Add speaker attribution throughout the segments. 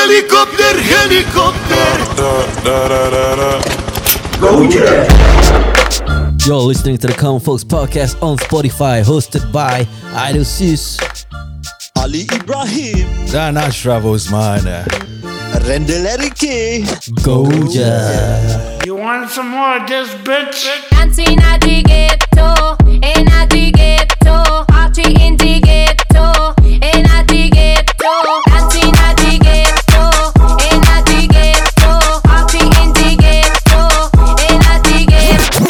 Speaker 1: helikopter, helikopter.
Speaker 2: You're listening to the Common Folks podcast on Spotify, hosted by Idol Sis.
Speaker 3: Ali Ibrahim
Speaker 4: Dan Ashraf Osman
Speaker 3: Randall Erike
Speaker 2: Goja.
Speaker 5: You want some more of this bitch?
Speaker 6: Anzi in di ghetto, in di ghetto, Archie in di ghetto, in di ghetto, Anzi in di ghetto, in di ghetto, Archie in di ghetto, in di ghetto.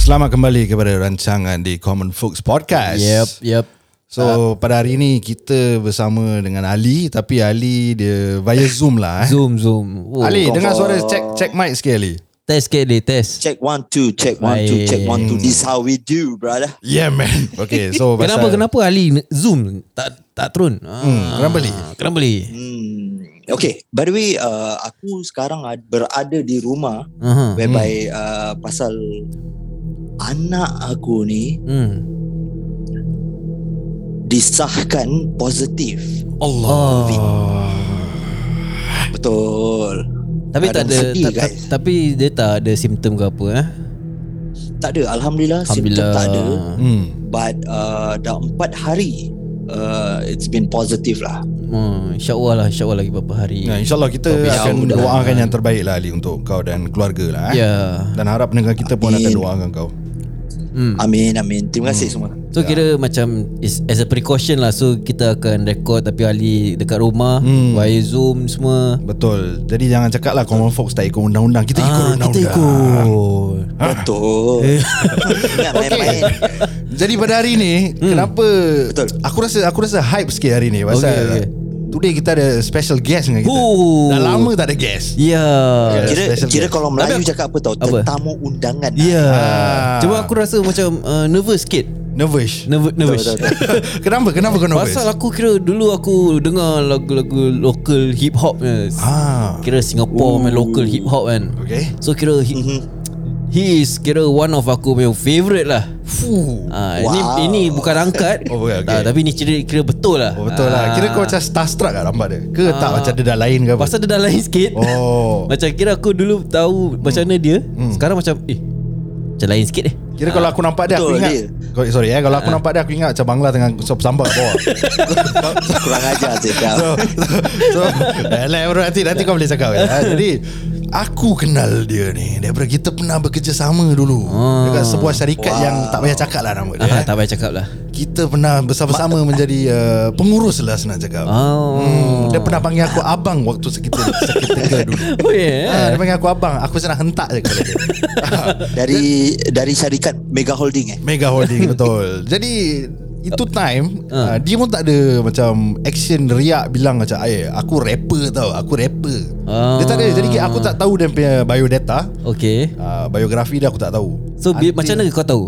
Speaker 4: Selamat kembali kepada rancangan di Common Folks Podcast
Speaker 2: Yep, Ah. yep.
Speaker 4: So pada hari ini kita bersama dengan Ali Tapi Ali dia via Zoom lah eh.
Speaker 2: Zoom, zoom. Oh,
Speaker 4: Ali dengar suara check check mic sikit Ali
Speaker 2: Test sikit dia, test.
Speaker 3: Check one two Check one two Check one two This how we do brother
Speaker 4: Yeah man Okay so pasal,
Speaker 2: Kenapa, kenapa Ali ne- Zoom tak tak turun? Hmm,
Speaker 4: kenapa Ali?
Speaker 2: Kenapa Ali?
Speaker 3: hmm. Okay By the way uh, Aku sekarang ad- berada di rumah
Speaker 2: Aha.
Speaker 4: Hmm.
Speaker 3: Whereby uh, Pasal Anak aku ni
Speaker 2: Hmm.
Speaker 3: Disahkan positif
Speaker 2: Allah. Oh.
Speaker 3: Betul
Speaker 2: Tapi tak
Speaker 3: Keadaan
Speaker 2: ada
Speaker 3: sedih,
Speaker 2: ta, ta,
Speaker 3: guys.
Speaker 2: tapi dia tak ada simptom ke apa eh?
Speaker 3: Tak ada Alhamdulillah, Alhamdulillah.
Speaker 2: Alhamdulillah.
Speaker 3: Simptom tak ada
Speaker 4: hmm.
Speaker 3: But uh, Dah empat hari uh, It's been positive lah
Speaker 2: Hmm, InsyaAllah lah InsyaAllah lagi beberapa hari
Speaker 4: nah, InsyaAllah kita
Speaker 2: Tapi
Speaker 4: akan
Speaker 2: jauh dah.
Speaker 4: doakan yang terbaik lah Ali Untuk kau dan keluarga lah eh.
Speaker 2: Ya.
Speaker 4: Dan harap pendengar kita pun akan
Speaker 3: Amin.
Speaker 4: doakan kau
Speaker 2: Hmm.
Speaker 3: Amin amin Terima kasih
Speaker 4: Hmm.
Speaker 3: semua
Speaker 2: So
Speaker 4: Ya.
Speaker 2: kira macam is, As a precaution lah So kita akan record Tapi Ali dekat rumah
Speaker 4: Hmm.
Speaker 2: Via Zoom semua
Speaker 4: Betul Jadi jangan cakap lah Common Folks tak ikut undang-undang Kita ikut undang-undang
Speaker 2: Ah, Kita ikut Eh.
Speaker 3: Betul Ingat main-main
Speaker 4: Jadi pada hari ni hmm. Kenapa
Speaker 3: Betul.
Speaker 4: Aku rasa Aku rasa hype sikit hari ni Pasal
Speaker 2: Okay, okay.
Speaker 4: Today kita ada special guest dengan kita
Speaker 2: Oh.
Speaker 4: Dah lama tak ada guest
Speaker 2: Ya
Speaker 4: Yeah.
Speaker 3: Kira,
Speaker 4: Special
Speaker 3: kira
Speaker 4: guest.
Speaker 3: kalau Melayu cakap apa tau
Speaker 2: Apa?
Speaker 3: Tetamu undangan
Speaker 2: Ya
Speaker 4: Ah.
Speaker 2: Cuma aku rasa macam uh, Nervous sikit
Speaker 4: Nervous
Speaker 2: Nerv- Nervous
Speaker 3: betul,
Speaker 4: Kenapa Kenapa kau nervous
Speaker 2: Pasal aku kira Dulu aku dengar Lagu-lagu Local hip hop
Speaker 4: Ah.
Speaker 2: Kira Singapore main Local hip hop kan
Speaker 4: Okay
Speaker 2: So kira he,
Speaker 4: Mm-hmm.
Speaker 2: he is kira one of aku punya favourite lah
Speaker 4: Fuh.
Speaker 2: Ah, wow.
Speaker 3: Wow.
Speaker 2: ini ini bukan angkat.
Speaker 4: Oh, bukan, okay.
Speaker 2: Ah, tapi ni kira, kira betul lah.
Speaker 4: Oh, betul lah Kira kau macam starstruck lah nampak dia Ke tak macam dia dah lain ke apa
Speaker 2: Ah. pasal dia dah lain sikit.
Speaker 4: Oh Mm.
Speaker 2: macam kira aku dulu tahu macam mana dia. Sekarang macam eh macam lain sikit eh.
Speaker 4: Kira kalau aku nampak dia Aku
Speaker 3: Betul,
Speaker 4: ingat
Speaker 3: dia.
Speaker 4: Kau- Sorry eh
Speaker 2: Ah.
Speaker 4: Kalau aku nampak dia Aku ingat macam Bangla Tengah sop sambal kat bawah
Speaker 3: Kurang ajar je kau
Speaker 4: So, so Alah bro nanti, nanti kau boleh cakap ya. Jadi Aku kenal dia ni Daripada kita pernah bekerjasama dulu
Speaker 2: Ah.
Speaker 4: Dekat sebuah syarikat wow. yang tak payah cakap lah nama dia
Speaker 2: Ah,
Speaker 4: eh.
Speaker 2: tak payah cakap lah.
Speaker 4: Kita pernah bersama-sama menjadi uh, pengurus lah senang cakap
Speaker 2: Oh.
Speaker 4: hmm, Dia pernah panggil aku abang waktu sekitar seketika dulu
Speaker 2: Oh yeah.
Speaker 4: Ah, dia panggil aku abang Aku senang hentak je kepada dia
Speaker 3: Dari dari syarikat Mega Holding eh
Speaker 4: Mega holding betul Jadi itu time uh.
Speaker 2: Ah.
Speaker 4: Dia pun tak ada macam Action riak bilang macam "Eh, Aku rapper tau Aku rapper
Speaker 2: Ah.
Speaker 4: Dia tak ada Jadi aku tak tahu dia punya biodata
Speaker 2: Okay.
Speaker 4: uh, Biografi dia aku tak tahu
Speaker 2: So bi- macam mana kau tahu?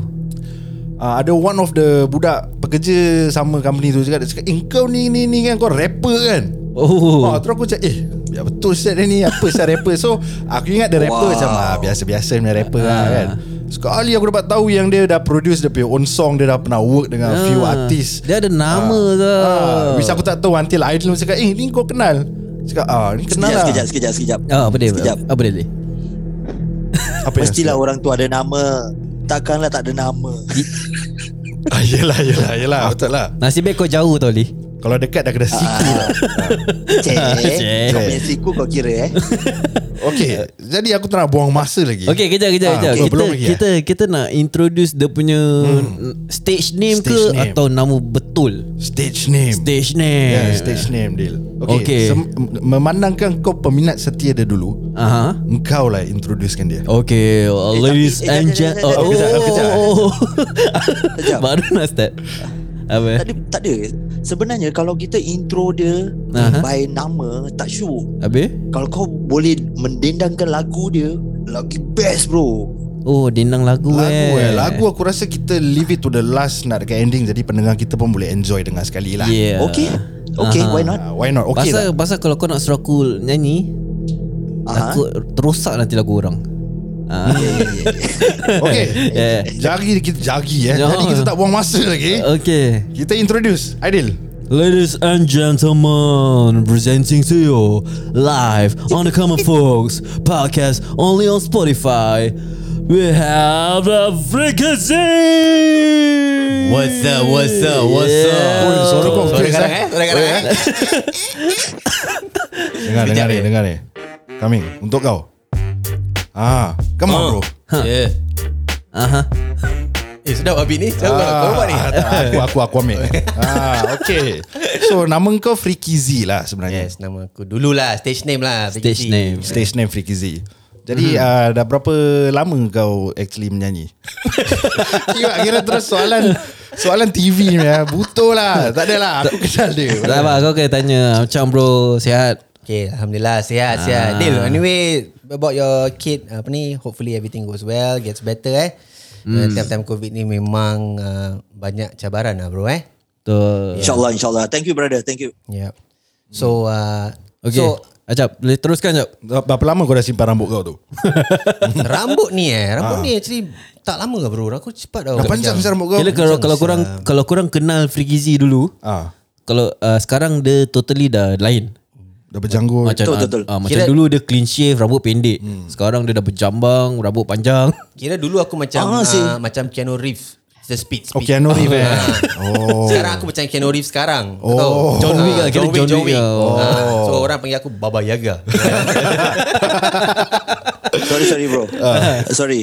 Speaker 4: uh, Ada one of the budak Pekerja sama company tu cakap Dia cakap Eh kau ni ni ni kan Kau rapper kan Oh.
Speaker 2: Oh.
Speaker 4: terus aku cakap Eh ya betul set dia ni Apa set rapper So aku ingat dia rapper wow.
Speaker 3: Wow.
Speaker 4: macam ah, Biasa-biasa punya rapper lah
Speaker 2: Ah.
Speaker 4: kan Sekali aku dapat tahu yang dia dah produce Dia punya own song Dia dah pernah work dengan
Speaker 2: Ah,
Speaker 4: few artist
Speaker 2: Dia ada nama tau.
Speaker 4: Ah, which aku tak tahu Until Idol cakap Eh ni kau kenal Cakap ah ni kenal
Speaker 3: Sekejap
Speaker 4: lah
Speaker 3: sekejap sekejap sekejap
Speaker 2: Ah, apa dia?
Speaker 3: Sekejap
Speaker 2: Apa dia? Lee?
Speaker 4: Apa yang
Speaker 3: Mestilah
Speaker 4: sekejap?
Speaker 3: orang tu ada nama Takkanlah tak ada nama
Speaker 4: ah, Yelah yelah yelah Betul lah
Speaker 2: Nasib baik kau jauh tau Li.
Speaker 4: Kalau dekat dah
Speaker 3: Ah.
Speaker 4: kena siku lah
Speaker 3: Cek
Speaker 2: Cek.
Speaker 3: Kau punya siku kau kira eh
Speaker 4: Okay Jadi aku tak nak buang masa lagi
Speaker 2: Okay, kejap, kejap,
Speaker 4: Ah, belum-
Speaker 2: kejap. Kita,
Speaker 4: belum lagi, eh?
Speaker 2: kita, kita nak introduce dia punya hmm. stage name
Speaker 4: Stage
Speaker 2: ke
Speaker 4: name.
Speaker 2: atau nama betul?
Speaker 4: Stage name
Speaker 2: Stage name.
Speaker 4: Yeah, stage name deal Okay,
Speaker 2: Eh. Okay.
Speaker 4: Sem- memandangkan kau peminat setia dia dulu
Speaker 2: Aha.
Speaker 4: Engkau lah introducekan dia
Speaker 2: Okay, uh,
Speaker 3: tapi-
Speaker 2: ladies
Speaker 3: eh,
Speaker 2: and
Speaker 3: jap,
Speaker 2: gen.
Speaker 3: jap, jap,
Speaker 2: Oh,
Speaker 3: jap,
Speaker 2: oh,
Speaker 4: jap, jap,
Speaker 2: oh,
Speaker 4: jap.
Speaker 2: oh,
Speaker 3: Sekejap.
Speaker 2: oh. Baru nak start. Apa?
Speaker 3: Tak ada Tak ada Sebenarnya kalau kita intro dia
Speaker 2: Aha.
Speaker 3: By nama Tak sure
Speaker 2: Habis?
Speaker 3: Kalau kau boleh Mendendangkan lagu dia Lagi best bro
Speaker 2: Oh, dindang lagu,
Speaker 4: Lagu
Speaker 2: eh.
Speaker 4: eh Lagu aku rasa kita leave it to the last Nak dekat ending Jadi pendengar kita pun boleh enjoy dengar sekali lah
Speaker 2: Yeah.
Speaker 3: Okay
Speaker 2: Ya.
Speaker 3: Okay
Speaker 2: Aha.
Speaker 3: why not
Speaker 4: Ah, Why not? Okay
Speaker 2: pasal,
Speaker 4: lah
Speaker 2: pasal kalau kau nak suruh aku nyanyi,
Speaker 3: Aha.
Speaker 2: aku terosak nanti lagu orang. Ah.
Speaker 4: Okay
Speaker 2: Yeah.
Speaker 4: Jari kita jari eh
Speaker 2: No.
Speaker 4: Jadi kita tak buang masa lagi
Speaker 2: Okay.
Speaker 4: Kita introduce Aidil
Speaker 2: Ladies and gentlemen, presenting to you live on the Common Folks podcast, only on Spotify. We have the frequency.
Speaker 7: What's up, what's up, what's up?
Speaker 4: Oi, suara kau
Speaker 7: Suara
Speaker 4: best,
Speaker 7: garang
Speaker 4: eh?
Speaker 7: eh? Suara garang eh?
Speaker 4: Dengar dengar ni Dengar ni Coming Untuk kau Ah, Come on bro
Speaker 7: Ya.
Speaker 2: Aha. Uh-huh.
Speaker 7: Eh, sedap habis ni. Sedap ah, kau buat ni.
Speaker 4: tak, Aku aku aku ambil ah, Okay So nama kau Freaky Z lah sebenarnya
Speaker 7: Yes, nama aku dululah stage name lah.
Speaker 2: Stage
Speaker 7: Ricky.
Speaker 2: name.
Speaker 4: Stage name Freaky Z Jadi hmm. uh, dah berapa lama kau actually menyanyi? kira, kira terus soalan Soalan TV ni ya. Butuh lah Tak adalah Aku kenal
Speaker 2: Tak
Speaker 4: dia
Speaker 2: apa, kau kena tanya macam bro sihat.
Speaker 7: Okay,
Speaker 2: Ah.
Speaker 7: Alhamdulillah, sihat, sihat. Dil, anyway, about your kid, apa ni, hopefully everything goes well, gets better eh.
Speaker 2: Hmm.
Speaker 7: Mm. Time-time COVID ni memang uh, banyak cabaran lah bro eh.
Speaker 2: Betul.
Speaker 3: InsyaAllah, insyaAllah. Thank you, brother. Thank you.
Speaker 7: Yeah. So, uh,
Speaker 2: Okay.
Speaker 7: so
Speaker 2: Ajap, boleh teruskan jap.
Speaker 4: Berapa lama kau dah simpan rambut kau tu?
Speaker 7: rambut ni
Speaker 2: Ah.
Speaker 7: eh, rambut ni actually tak lama lah bro. Aku cepat tau.
Speaker 4: Dah panjang besar rambut kau
Speaker 2: Kira kalau kalau korang kalau korang kenal Frigizi dulu,
Speaker 4: ah,
Speaker 2: kalau uh, sekarang dia totally dah lain.
Speaker 4: Dah berjanggut
Speaker 2: Macam
Speaker 3: Betul,
Speaker 2: ah,
Speaker 3: betul.
Speaker 2: ah, macam
Speaker 7: Kira-
Speaker 2: dulu dia clean shave, rambut pendek. Sekarang dia dah berjambang, rambut panjang.
Speaker 7: Kira dulu aku macam
Speaker 3: Ah,
Speaker 7: ah,
Speaker 3: sih.
Speaker 7: uh, macam Keanu Reeves. It's The speed, speed.
Speaker 4: Oh, Keanu Reeves, eh.
Speaker 7: Ah.
Speaker 4: Oh.
Speaker 7: Sekarang aku macam Keanu Reeves sekarang.
Speaker 4: Oh.
Speaker 2: John Wick lah, kira John Wick lah.
Speaker 7: Oh. so orang panggil aku Baba Yaga.
Speaker 3: Sorry, sorry bro.
Speaker 2: Ah.
Speaker 3: Uh. Sorry.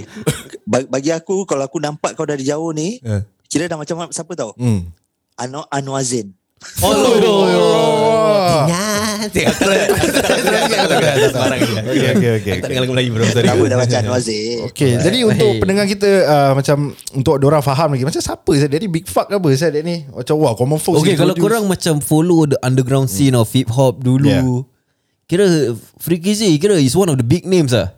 Speaker 3: Ba- Bagi aku, kalau aku nampak kau dari jauh ni,
Speaker 2: Eh.
Speaker 3: uh. kira dah macam siapa tau?
Speaker 4: Hmm.
Speaker 3: Anwar Anwar Zain.
Speaker 7: oh, no.
Speaker 4: Oh.
Speaker 7: Ingat. Tak Sembarang je.
Speaker 4: Okay, okay, okay.
Speaker 7: Aku tak dengar lagu Melayu bro. Sorry.
Speaker 3: Nama dah macam Anwar Zain.
Speaker 4: Okay, jadi untuk pendengar kita uh, macam untuk orang faham lagi macam siapa saya dari big fuck ke apa saya dari ni. Macam wah common folks.
Speaker 2: Okay,
Speaker 4: ni
Speaker 2: kalau
Speaker 4: produce.
Speaker 2: korang macam follow the underground scene of hip hop dulu,
Speaker 4: Yeah.
Speaker 2: kira Frigizi kira is one of the big names ah.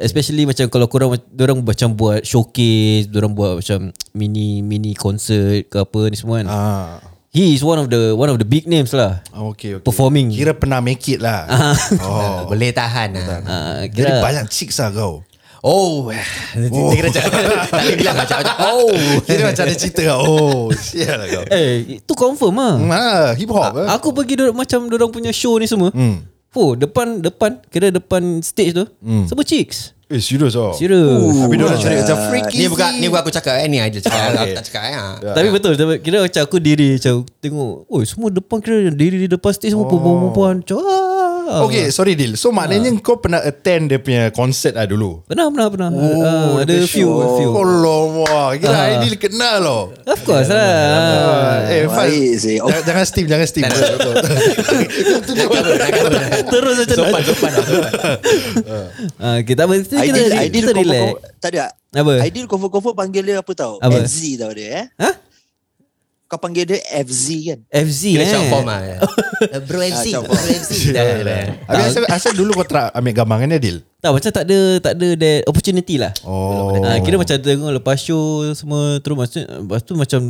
Speaker 2: Especially macam kalau korang orang macam buat showcase, orang buat macam mini mini concert ke apa ni semua kan.
Speaker 4: ah
Speaker 2: He is one of the one of the big names lah.
Speaker 4: oh, okay, okay.
Speaker 2: Performing.
Speaker 4: Kira pernah make it lah.
Speaker 7: Oh,
Speaker 4: Oh.
Speaker 7: Boleh tahan lah.
Speaker 2: Ah,
Speaker 4: Jadi
Speaker 2: kira
Speaker 4: banyak chicks lah kau.
Speaker 7: Oh, oh. kira macam tak boleh bilang macam macam, oh.
Speaker 4: Kira macam ada cerita kau. Oh, sial lah kau.
Speaker 2: Eh, itu confirm ah.
Speaker 4: Ah, hip hop eh.
Speaker 2: Aku pergi dor- macam orang punya show ni semua.
Speaker 4: Hmm.
Speaker 2: Oh, depan depan kira depan stage tu. Semua chicks.
Speaker 4: Eh, serius oh.
Speaker 2: Serius.
Speaker 4: Hmm. Tapi dia orang cakap macam freaky.
Speaker 7: Ni bukan ni bukan aku cakap eh ni idol cakap
Speaker 4: Okay.
Speaker 7: aku tak cakap eh. ah.
Speaker 2: Tapi betul tapi Kira macam aku diri Macam tengok Oh semua depan kira Diri di depan stage Semua perempuan-perempuan Macam ah.
Speaker 4: Oh. Okay, sorry Dil. So maknanya kau pernah attend dia punya concert lah dulu.
Speaker 2: Pernah pernah pernah oh, Ada few, few. Ah.
Speaker 4: Oh, lama. Kira Aidil kenal loh.
Speaker 2: Of course lah
Speaker 4: Eh, Faz.
Speaker 3: Baik, Zee. Oh.
Speaker 4: Jangan, jangan steam, jangan steam.
Speaker 2: Terus macam
Speaker 7: Sopan sopan.
Speaker 2: Ah, okay, tak apa. Kita, kita,
Speaker 3: Ideal,
Speaker 2: kita,
Speaker 3: ideal
Speaker 2: relax
Speaker 3: confirm, tak ada.
Speaker 2: Apa?
Speaker 3: Ideal confirm-confirm panggil dia apa tau?
Speaker 2: Apa?
Speaker 3: FZ tau dia eh.
Speaker 2: Ha?
Speaker 3: Kau panggil dia FZ kan?
Speaker 2: FZ
Speaker 7: Kira
Speaker 2: eh
Speaker 7: shout form lah. Bro MC,
Speaker 3: shout
Speaker 7: bro MC. Dah, dah, dah.
Speaker 4: Habis asal, asal dulu kau try ambil gambar dengan Adil?
Speaker 2: Tak macam tak ada Tak ada that opportunity lah
Speaker 4: Oh.
Speaker 2: Ah, Kira macam tengok lepas show Semua terus Lepas tu, lepas tu macam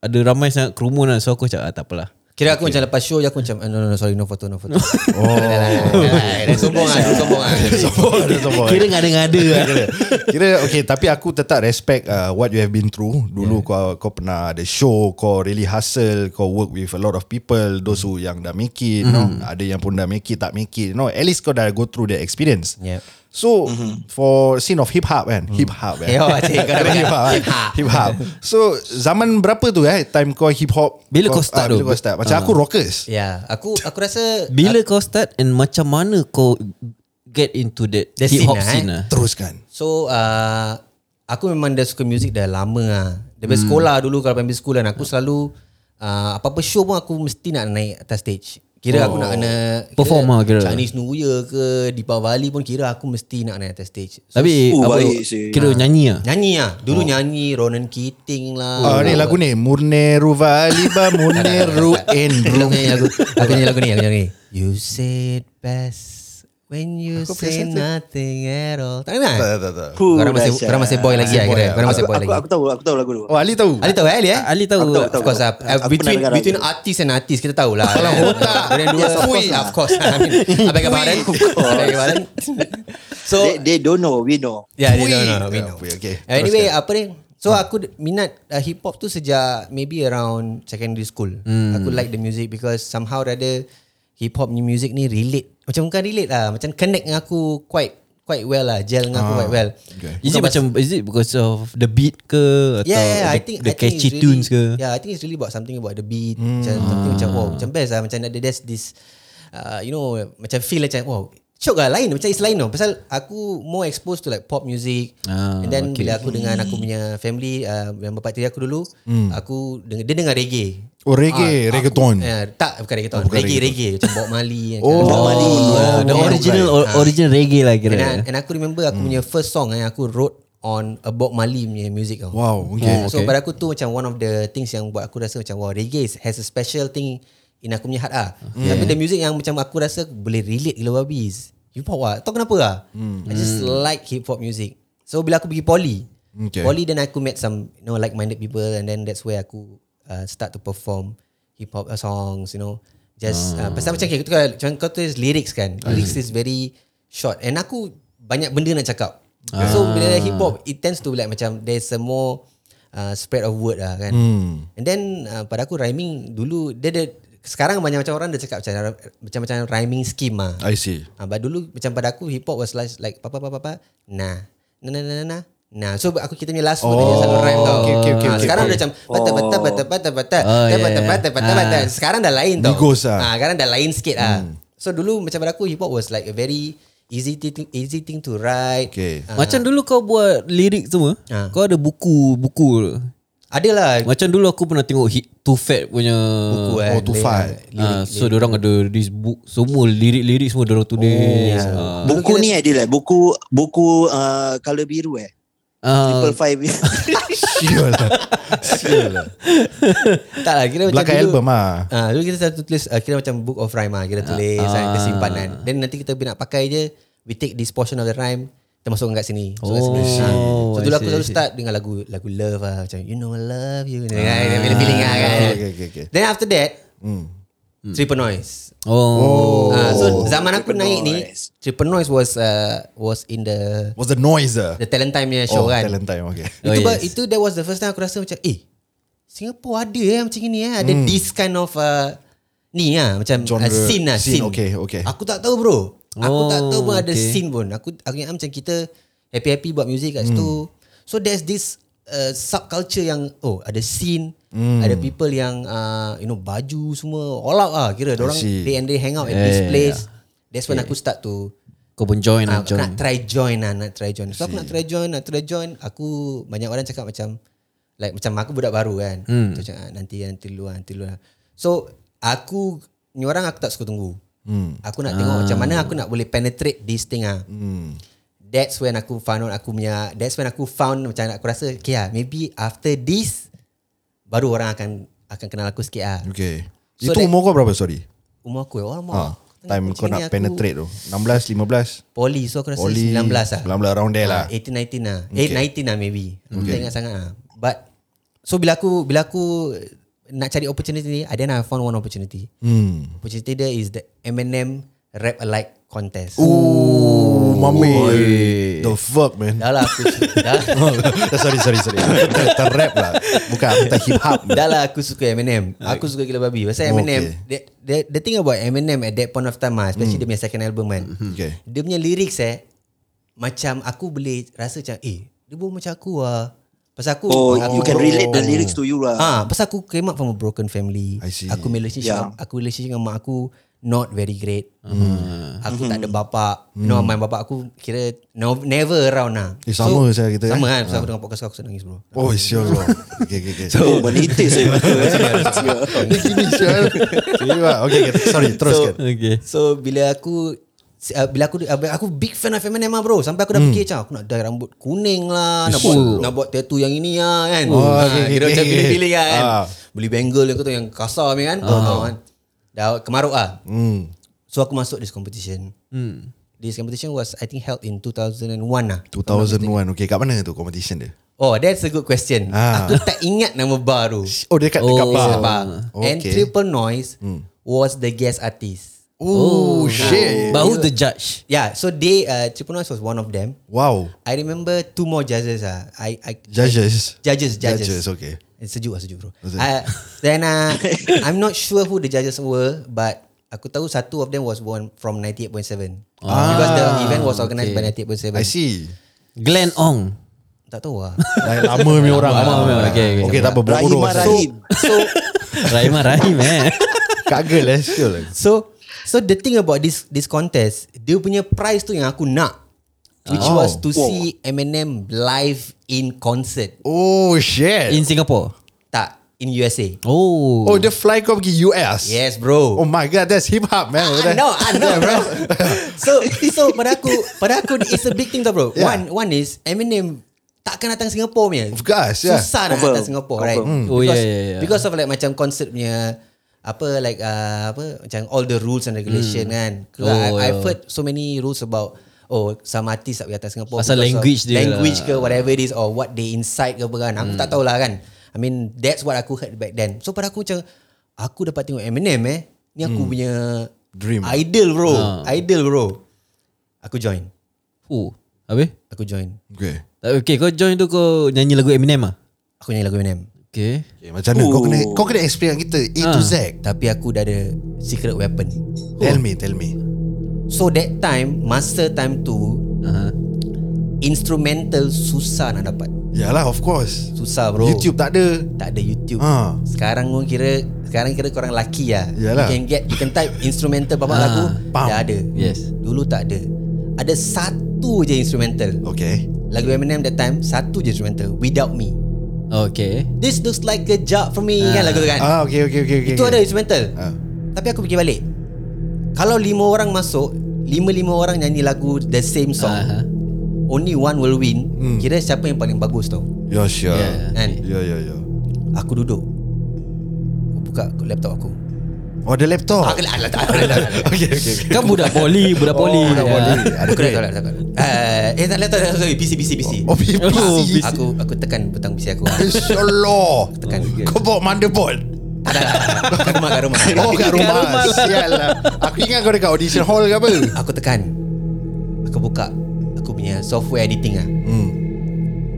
Speaker 2: Ada ramai sangat kerumun lah So aku macam ah, tak apalah
Speaker 7: Kira aku macam lepas show je aku macam eh, no no no sorry no photo no photo. Oh. Dah sombong ah, dah sombong ah.
Speaker 4: Sombong, ada sombong.
Speaker 7: eh.
Speaker 2: Kira ngada-ngada lah
Speaker 4: Kira, kira okay tapi aku tetap respect uh, what you have been through dulu yeah. kau kau pernah ada show kau really hustle kau work with a lot of people those who yang dah make it you know ada yang pun dah make it tak make it you know at least kau dah go through the experience
Speaker 7: Yep.
Speaker 4: so mm-hmm. for scene of hip hop kan hip hop kan
Speaker 7: Eh, oh, cik, kau dah
Speaker 4: hip hop kan?
Speaker 7: Hip hop.
Speaker 4: hip hop so zaman berapa tu eh time kau hip hop
Speaker 2: Bila kau start
Speaker 4: ah, bila
Speaker 2: tu?
Speaker 4: kau start macam aku rockers
Speaker 7: Ya, aku aku rasa uh,
Speaker 2: Bila kau start and macam mana kau get into that
Speaker 7: The
Speaker 2: hip hop
Speaker 7: scene
Speaker 2: scene lah?
Speaker 7: lah,
Speaker 4: teruskan
Speaker 7: So uh, aku memang dah suka muzik dah lama lah. Dari hmm. sekolah dulu kalau primary school kan aku selalu uh, apa-apa show pun aku mesti nak naik atas stage. Kira oh. aku nak kena kira
Speaker 2: Perform lah kira.
Speaker 7: Chinese New Year ke Deepavali pun kira aku mesti nak naik atas stage. So,
Speaker 2: Tapi
Speaker 3: Oh,
Speaker 2: apa,
Speaker 3: baik sih.
Speaker 2: kira nyanyi lah?
Speaker 7: nyanyi lah. Dulu oh. nyanyi Ronan Keating lah.
Speaker 4: Ah, ni lagu ni Murneru Valiba Murneru
Speaker 7: Aku
Speaker 4: Enru
Speaker 7: nyanyi lagu Aku nyanyi lagu ni Aku nyanyi You said best When you
Speaker 4: Aku
Speaker 7: say
Speaker 4: biasa tu.
Speaker 7: nothing at all Tak kenal?
Speaker 4: Tak, tak, tak, tak.
Speaker 3: Puh,
Speaker 7: Korang masih,
Speaker 3: dahsyat.
Speaker 7: korang masih boy lagi lah kira. Korang masih
Speaker 3: Aku,
Speaker 7: boy
Speaker 3: lah, aku,
Speaker 7: lagi
Speaker 3: aku tahu, aku tahu lagu tu.
Speaker 4: Oh Ali tahu
Speaker 7: Ali tahu eh Ali eh?
Speaker 2: Ali tahu.
Speaker 3: Aku tahu,
Speaker 7: Of course lah.
Speaker 3: Aku
Speaker 7: between
Speaker 3: pernah dengar
Speaker 7: between
Speaker 3: lagu.
Speaker 7: artist and artist kita tahulah. Kalau otak. Kalian dua.
Speaker 3: Yes,
Speaker 7: Of
Speaker 3: of
Speaker 7: course.
Speaker 3: course
Speaker 7: Of course. lah. I mean, Abang Kabaran. Abang Kabaran. So,
Speaker 3: They, they don't know, we know.
Speaker 7: yeah, they
Speaker 4: Pui.
Speaker 7: don't know. We know.
Speaker 4: Pui, okay.
Speaker 7: Eh, Anyway, apa ni? So aku d- minat uh, hip hop tu sejak maybe around secondary school. Mm. Aku like the music because somehow rather hip hop ni music ni relate. Macam bukan relate lah, macam connect dengan aku quite quite well lah, gel dengan aku quite well. Okay.
Speaker 2: Is it macam Is it because of The beat ke Atau
Speaker 7: Yeah, yeah, yeah.
Speaker 2: the,
Speaker 7: I think
Speaker 2: the
Speaker 7: I think
Speaker 2: catchy
Speaker 7: it's
Speaker 2: tunes
Speaker 7: really,
Speaker 2: ke Ah.
Speaker 7: Yeah, I think it's really about something about the beat.
Speaker 4: Hmm.
Speaker 7: Mm. Macam something macam wow, macam best lah. Macam ada there's this, uh, you know, macam feel macam wow, syok lah lain. Macam it's lain tau. Pasal aku more exposed to like pop music.
Speaker 2: Ah,
Speaker 7: and then
Speaker 2: okay.
Speaker 7: bila aku dengan aku punya family, uh, yang bapak tiri aku dulu,
Speaker 4: Hmm.
Speaker 7: aku dengar, dia dengar reggae.
Speaker 4: Oh reggae,
Speaker 7: Ah,
Speaker 4: reggaeton.
Speaker 2: Hmm.
Speaker 7: Aku, eh, tak, bukan reggaeton.
Speaker 4: Oh, bukan
Speaker 7: reggae,
Speaker 4: reggaeton.
Speaker 7: reggae. Macam Bob Marley. yang
Speaker 4: Oh,
Speaker 7: kan.
Speaker 4: Bob Marley.
Speaker 2: Oh, the
Speaker 4: Oh,
Speaker 2: original
Speaker 7: right.
Speaker 2: or- original reggae lah kira.
Speaker 7: And, I, and aku remember aku punya first song yang aku wrote on a Bob Marley punya music tau.
Speaker 4: Wow, okay.
Speaker 7: Yeah, So
Speaker 2: okay.
Speaker 7: pada aku tu macam one of the things yang buat aku rasa macam wow reggae is- has a special thing in aku punya heart ah. Okay. Tapi the music yang macam aku rasa boleh relate gila babi is hip hop ah. Tahu kenapa ah? I just like hip hop music. So bila aku pergi poly,
Speaker 4: Okay.
Speaker 7: poly then aku met some you know like minded people and then that's where aku uh, start to perform hip hop uh, songs you know. Just uh, pasal macam okay, tu kan macam kau tulis lyrics kan. Lyrics is very short and aku banyak benda nak cakap. So bila hip hop it tends to like macam there's a more uh, spread of word lah kan. Hmm. And then uh, pada aku rhyming dulu dia ada sekarang banyak macam orang dia cakap macam macam macam rhyming scheme ah.
Speaker 4: I see.
Speaker 7: Ah, but dulu macam pada aku hip hop was like, like papa papa papa nah na na na na na Nah, so aku kita punya last word oh, selalu rhyme tau.
Speaker 4: okay, okay, okay, okay. Oh.
Speaker 7: Ah,
Speaker 4: Ah, ya,
Speaker 7: sekarang dah macam bata bata bata bata bata
Speaker 2: Oh,
Speaker 7: bata
Speaker 2: yeah,
Speaker 7: bata
Speaker 2: yeah.
Speaker 7: bata bata bata. Sekarang dah lain tau.
Speaker 4: Migos Hmm. ah.
Speaker 7: Ah, sekarang dah lain sikit ah. So dulu macam pada aku hip hop was like a very easy thing easy thing to write.
Speaker 4: Okay.
Speaker 7: Ah,
Speaker 2: Macam dulu kau buat lirik semua,
Speaker 7: Ah.
Speaker 2: kau ada buku buku.
Speaker 7: Adalah
Speaker 2: Macam dulu aku pernah tengok hit Too Fat punya
Speaker 7: Eh. buku
Speaker 4: oh, to fight.
Speaker 2: Ah, so orang ada this book semua lirik-lirik semua orang tulis. Ah.
Speaker 3: Buku ni eh Dila Buku Buku uh, Color biru eh
Speaker 2: Ah,
Speaker 3: Triple five
Speaker 4: Sial lah. Sial lah.
Speaker 7: Tak lah kira
Speaker 4: Belakang
Speaker 7: macam dulu,
Speaker 4: album ah.
Speaker 7: Ah, dulu kita satu tulis uh, kira macam book of rhyme ah, kita tulis uh, kita simpanan. Then nanti kita bila nak pakai je we take this portion of the rhyme kita masukkan kat sini. Masukkan
Speaker 2: Oh,
Speaker 7: sini. Ah. So
Speaker 2: I see,
Speaker 7: dulu aku
Speaker 2: I
Speaker 7: selalu
Speaker 2: see.
Speaker 7: start dengan lagu lagu love lah macam you know I love you. Ni kan, dia punya feeling ah kan.
Speaker 4: Okay, okay, okay. Hmm.
Speaker 7: Then after that Triple Noise.
Speaker 2: oh.
Speaker 7: Ah, so zaman aku
Speaker 3: Triple
Speaker 7: naik ni
Speaker 3: Noise.
Speaker 7: Triple Noise was uh, was in the
Speaker 4: Was the noise ah.
Speaker 7: the talent time punya
Speaker 4: Oh,
Speaker 7: show kan.
Speaker 4: talent time. Okay.
Speaker 2: Oh,
Speaker 7: Itu oh,
Speaker 2: yes.
Speaker 7: yes. itu that was the first time aku rasa macam eh Singapore ada eh macam ni eh
Speaker 2: Hmm.
Speaker 7: ada mm. this kind of uh, ni ah macam
Speaker 4: Genre,
Speaker 7: uh, scene lah
Speaker 4: scene,
Speaker 7: scene.
Speaker 4: okay, okay.
Speaker 7: Aku tak tahu bro. Aku
Speaker 2: Oh,
Speaker 7: tak tahu pun ada
Speaker 2: okay.
Speaker 7: scene pun. Aku aku ingat macam kita happy-happy buat music kat situ.
Speaker 2: Hmm.
Speaker 7: So there's this uh, subculture yang oh ada scene
Speaker 2: Hmm.
Speaker 7: Ada people yang uh, you know baju semua all out ah kira orang
Speaker 4: see.
Speaker 7: they and they hang out at
Speaker 2: Yeah,
Speaker 7: this
Speaker 2: yeah,
Speaker 7: place. That's when aku start to
Speaker 2: Kau pun join lah
Speaker 7: Ah, aku
Speaker 2: join.
Speaker 7: nak try join lah Nak try join So aku nak try join Nak try join Aku Banyak orang cakap macam Like macam aku budak baru kan hmm. so, cakap, ah, Nanti nanti dulu lah, Nanti dulu lah So Aku Ni orang aku tak suka tunggu hmm. Aku nak tengok macam mana Aku nak boleh penetrate This thing lah hmm. That's when aku found out Aku punya That's when aku found Macam aku rasa Okay lah Maybe after this Baru orang akan Akan kenal aku sikit lah
Speaker 4: Okay.
Speaker 7: So
Speaker 4: Itu
Speaker 7: that-
Speaker 4: umur kau berapa sorry?
Speaker 7: Umur aku Orang
Speaker 4: Ah, time
Speaker 7: umur
Speaker 4: kau nak penetrate tu. 16, 15.
Speaker 7: Poli So aku rasa
Speaker 4: Oli
Speaker 7: 19 lah
Speaker 4: 19 around there lah.
Speaker 7: Ah, 18 19 lah.
Speaker 4: Okay.
Speaker 7: Okay. 8 19 lah maybe. Aku tak ingat sangat lah. But so bila aku bila aku nak cari opportunity ni, and then I found one opportunity.
Speaker 4: Hmm.
Speaker 7: Opportunity dia is the Eminem Rap Alike Contest.
Speaker 4: Oh, mami. The fuck man.
Speaker 7: Dah lah aku dah,
Speaker 4: sorry, sorry, sorry. Kita rap lah. Bukan kita hip hop.
Speaker 7: dah lah aku suka Eminem. Aku suka gila babi. Pasal
Speaker 4: Okay.
Speaker 7: Eminem,
Speaker 4: Hmm.
Speaker 7: the, the, the thing about Eminem at that point of time ah, especially mm. dia punya second album kan.
Speaker 4: Okay.
Speaker 7: Dia punya lyrics eh macam aku boleh rasa macam eh dia pun macam aku ah. Pasal aku
Speaker 3: Oh
Speaker 7: aku
Speaker 3: You can relate the lyrics to you lah
Speaker 7: Ah, pasal aku came up from a broken family.
Speaker 4: I see. Ya.
Speaker 7: Aku punya relationship, yeah.
Speaker 3: Yeah.
Speaker 7: aku relationship dengan mak aku not very great. Hmm. Aku tak ada bapa. Hmm. No, my bapa aku kira no, never around lah.
Speaker 4: Eh, sama saya kita, eh?
Speaker 7: Sama kan, pasal aku dengan podcast aku, aku sedang nangis bro.
Speaker 4: Oh, sial lah. Okay, okay, okay.
Speaker 3: Oh menitis eh betul eh.
Speaker 4: Dia gini sial. Gini lah. Okay, okay. Sorry, kan. teruskan.
Speaker 7: So,
Speaker 2: Okay.
Speaker 7: so bila aku uh, bila aku uh, aku big fan of Eminem lah bro sampai aku dah
Speaker 4: Hmm.
Speaker 7: fikir macam aku nak dye rambut kuning lah nak buat
Speaker 2: Isu.
Speaker 7: nak buat tattoo yang ini lah kan
Speaker 4: Oh,
Speaker 7: Ah,
Speaker 4: okay, okay,
Speaker 7: kira macam
Speaker 4: okay.
Speaker 7: pilih-pilih lah kan
Speaker 4: Ah.
Speaker 7: beli bangle yang kau tahu yang kasar ni kan kau tahu kan dah kemaruk ah
Speaker 4: Hmm.
Speaker 7: so aku masuk this competition hmm. this competition was I think held in 2001 lah
Speaker 4: 2001. Okay, kat mana tu competition dia?
Speaker 7: Oh, that's a good question.
Speaker 4: Ah.
Speaker 7: Aku tak ingat nama baru.
Speaker 4: Oh, dekat dekat
Speaker 2: Oh,
Speaker 4: bar.
Speaker 7: Abang.
Speaker 4: Okay. Hmm.
Speaker 7: And Triple Noise was the guest artist.
Speaker 4: Oh, shit.
Speaker 2: But who's the judge?
Speaker 7: Yeah, so they uh, Triponos was one of them.
Speaker 4: Wow.
Speaker 7: I remember two more judges. Uh, I, I
Speaker 4: Judges.
Speaker 7: judges, judges.
Speaker 4: Judges, okay.
Speaker 7: It's sejuk lah sejuk bro.
Speaker 4: Is it?
Speaker 7: Uh, then uh, I'm not sure who the judges were, but aku tahu satu of them was one from 98.7 because the event was organised by 98.7.
Speaker 4: Ah, I see.
Speaker 2: Glenn Ong.
Speaker 7: Tak tahu lah.
Speaker 4: Lain lama punya orang.
Speaker 2: Lama punya, okay, okay.
Speaker 4: Okay, tak apa.
Speaker 3: Rahim
Speaker 4: bodoh.
Speaker 3: ah, Rahim.
Speaker 7: so
Speaker 2: Rahim Rahim eh.
Speaker 4: Kagel eh. Sial.
Speaker 7: so so the thing about this this contest, dia punya prize tu yang aku nak. Which
Speaker 4: Oh.
Speaker 7: was to see Eminem live in concert.
Speaker 4: Oh, shit.
Speaker 2: In Singapore.
Speaker 7: Tak, in USA.
Speaker 2: Oh.
Speaker 4: oh, dia fly kau pergi US.
Speaker 7: Yes, bro.
Speaker 4: Oh my god, that's hip hop, man.
Speaker 7: I know, I know, bro. so, so pada aku, pada aku it's a big thing tau, bro.
Speaker 4: Yeah.
Speaker 7: One, one is Eminem takkan datang Singapore punya.
Speaker 4: Of course, yeah. Hmm.
Speaker 7: Susah nak
Speaker 3: Confirm.
Speaker 7: datang Singapore, right?
Speaker 3: Confirm.
Speaker 2: Oh, yeah, yeah, yeah.
Speaker 7: Because of like macam concert punya apa like uh, apa macam all the rules and regulation kan.
Speaker 2: Oh,
Speaker 7: Oh, I, I've
Speaker 2: yeah.
Speaker 7: heard so many rules about Oh some artist tak boleh datang Singapore
Speaker 2: Pasal
Speaker 7: because of
Speaker 2: language dia
Speaker 7: Language
Speaker 2: lah. Hmm.
Speaker 7: ke whatever it is Or what they inside ke apa kan Aku tak tahulah kan I mean that's what aku heard back then So pada aku macam Aku dapat tengok Eminem eh Ni aku
Speaker 2: Hmm.
Speaker 7: punya
Speaker 4: Dream.
Speaker 7: Hmm. Idol bro
Speaker 4: Ha.
Speaker 7: Idol bro Aku join
Speaker 2: Oh. Habis?
Speaker 7: Aku join
Speaker 4: Okay.
Speaker 2: Okay, kau join tu kau nyanyi lagu Eminem ah.
Speaker 7: Aku nyanyi lagu Eminem
Speaker 2: Okay.
Speaker 4: okay macam mana? Kau kena kau kena explain dengan kita A to
Speaker 2: Ah.
Speaker 4: Z.
Speaker 7: Tapi aku dah ada Secret weapon
Speaker 4: Tell me, tell me.
Speaker 7: So that time Masa time tu
Speaker 2: Uh-huh.
Speaker 7: Instrumental Susah nak dapat
Speaker 4: Yalah, of course.
Speaker 7: Susah bro
Speaker 4: YouTube tak ada.
Speaker 7: Tak ada YouTube
Speaker 4: Ha.
Speaker 7: Sekarang pun kira Sekarang kira korang laki lah
Speaker 4: Yalah.
Speaker 7: You can get You can type instrumental Bapak
Speaker 2: Ha.
Speaker 7: lagu
Speaker 4: Pam.
Speaker 7: Dah ada
Speaker 2: Yes.
Speaker 7: Dulu tak ada Ada satu je instrumental
Speaker 4: Okay.
Speaker 7: Lagu Eminem that time Satu je instrumental Without Me
Speaker 2: Okay.
Speaker 7: This looks like a job for me Kan lagu tu kan
Speaker 4: Ah, okay, okay, okay, okay.
Speaker 7: Itu ada
Speaker 4: okay.
Speaker 7: instrumental
Speaker 4: Ha.
Speaker 7: Tapi aku fikir balik Kalau lima orang masuk Lima-lima orang nyanyi lagu The same song
Speaker 2: Aha.
Speaker 7: Only one will win
Speaker 4: Hmm.
Speaker 7: Kira siapa yang paling bagus tau
Speaker 4: Ya, sure.
Speaker 2: Yeah.
Speaker 7: Kan
Speaker 4: Ya, ya, ya.
Speaker 7: Aku duduk Aku buka laptop aku
Speaker 4: Oh, ada laptop.
Speaker 7: Aku lah Okay okay
Speaker 2: Kan budak poli, budak
Speaker 7: Oh,
Speaker 2: poli.
Speaker 4: budak
Speaker 2: dah.
Speaker 4: poli. Ada
Speaker 7: Ada Ah, aku laptop
Speaker 4: duit.
Speaker 7: laptop Eh, Eh tak laptop laptop, sorry PC PC PC
Speaker 4: Oh, PC.
Speaker 2: Oh, PC.
Speaker 7: Aku aku tekan butang PC aku
Speaker 4: Insyaallah.
Speaker 7: Tekan
Speaker 4: Kau bawa motherboard.
Speaker 7: Tak tak tak Kat rumah kat rumah
Speaker 4: Oh, kat rumah.
Speaker 2: rumah lah.
Speaker 4: Sial lah. Aku ingat kau dekat audition hall ke apa.
Speaker 7: Aku tekan Aku buka Aku punya software editing lah
Speaker 4: Hmm.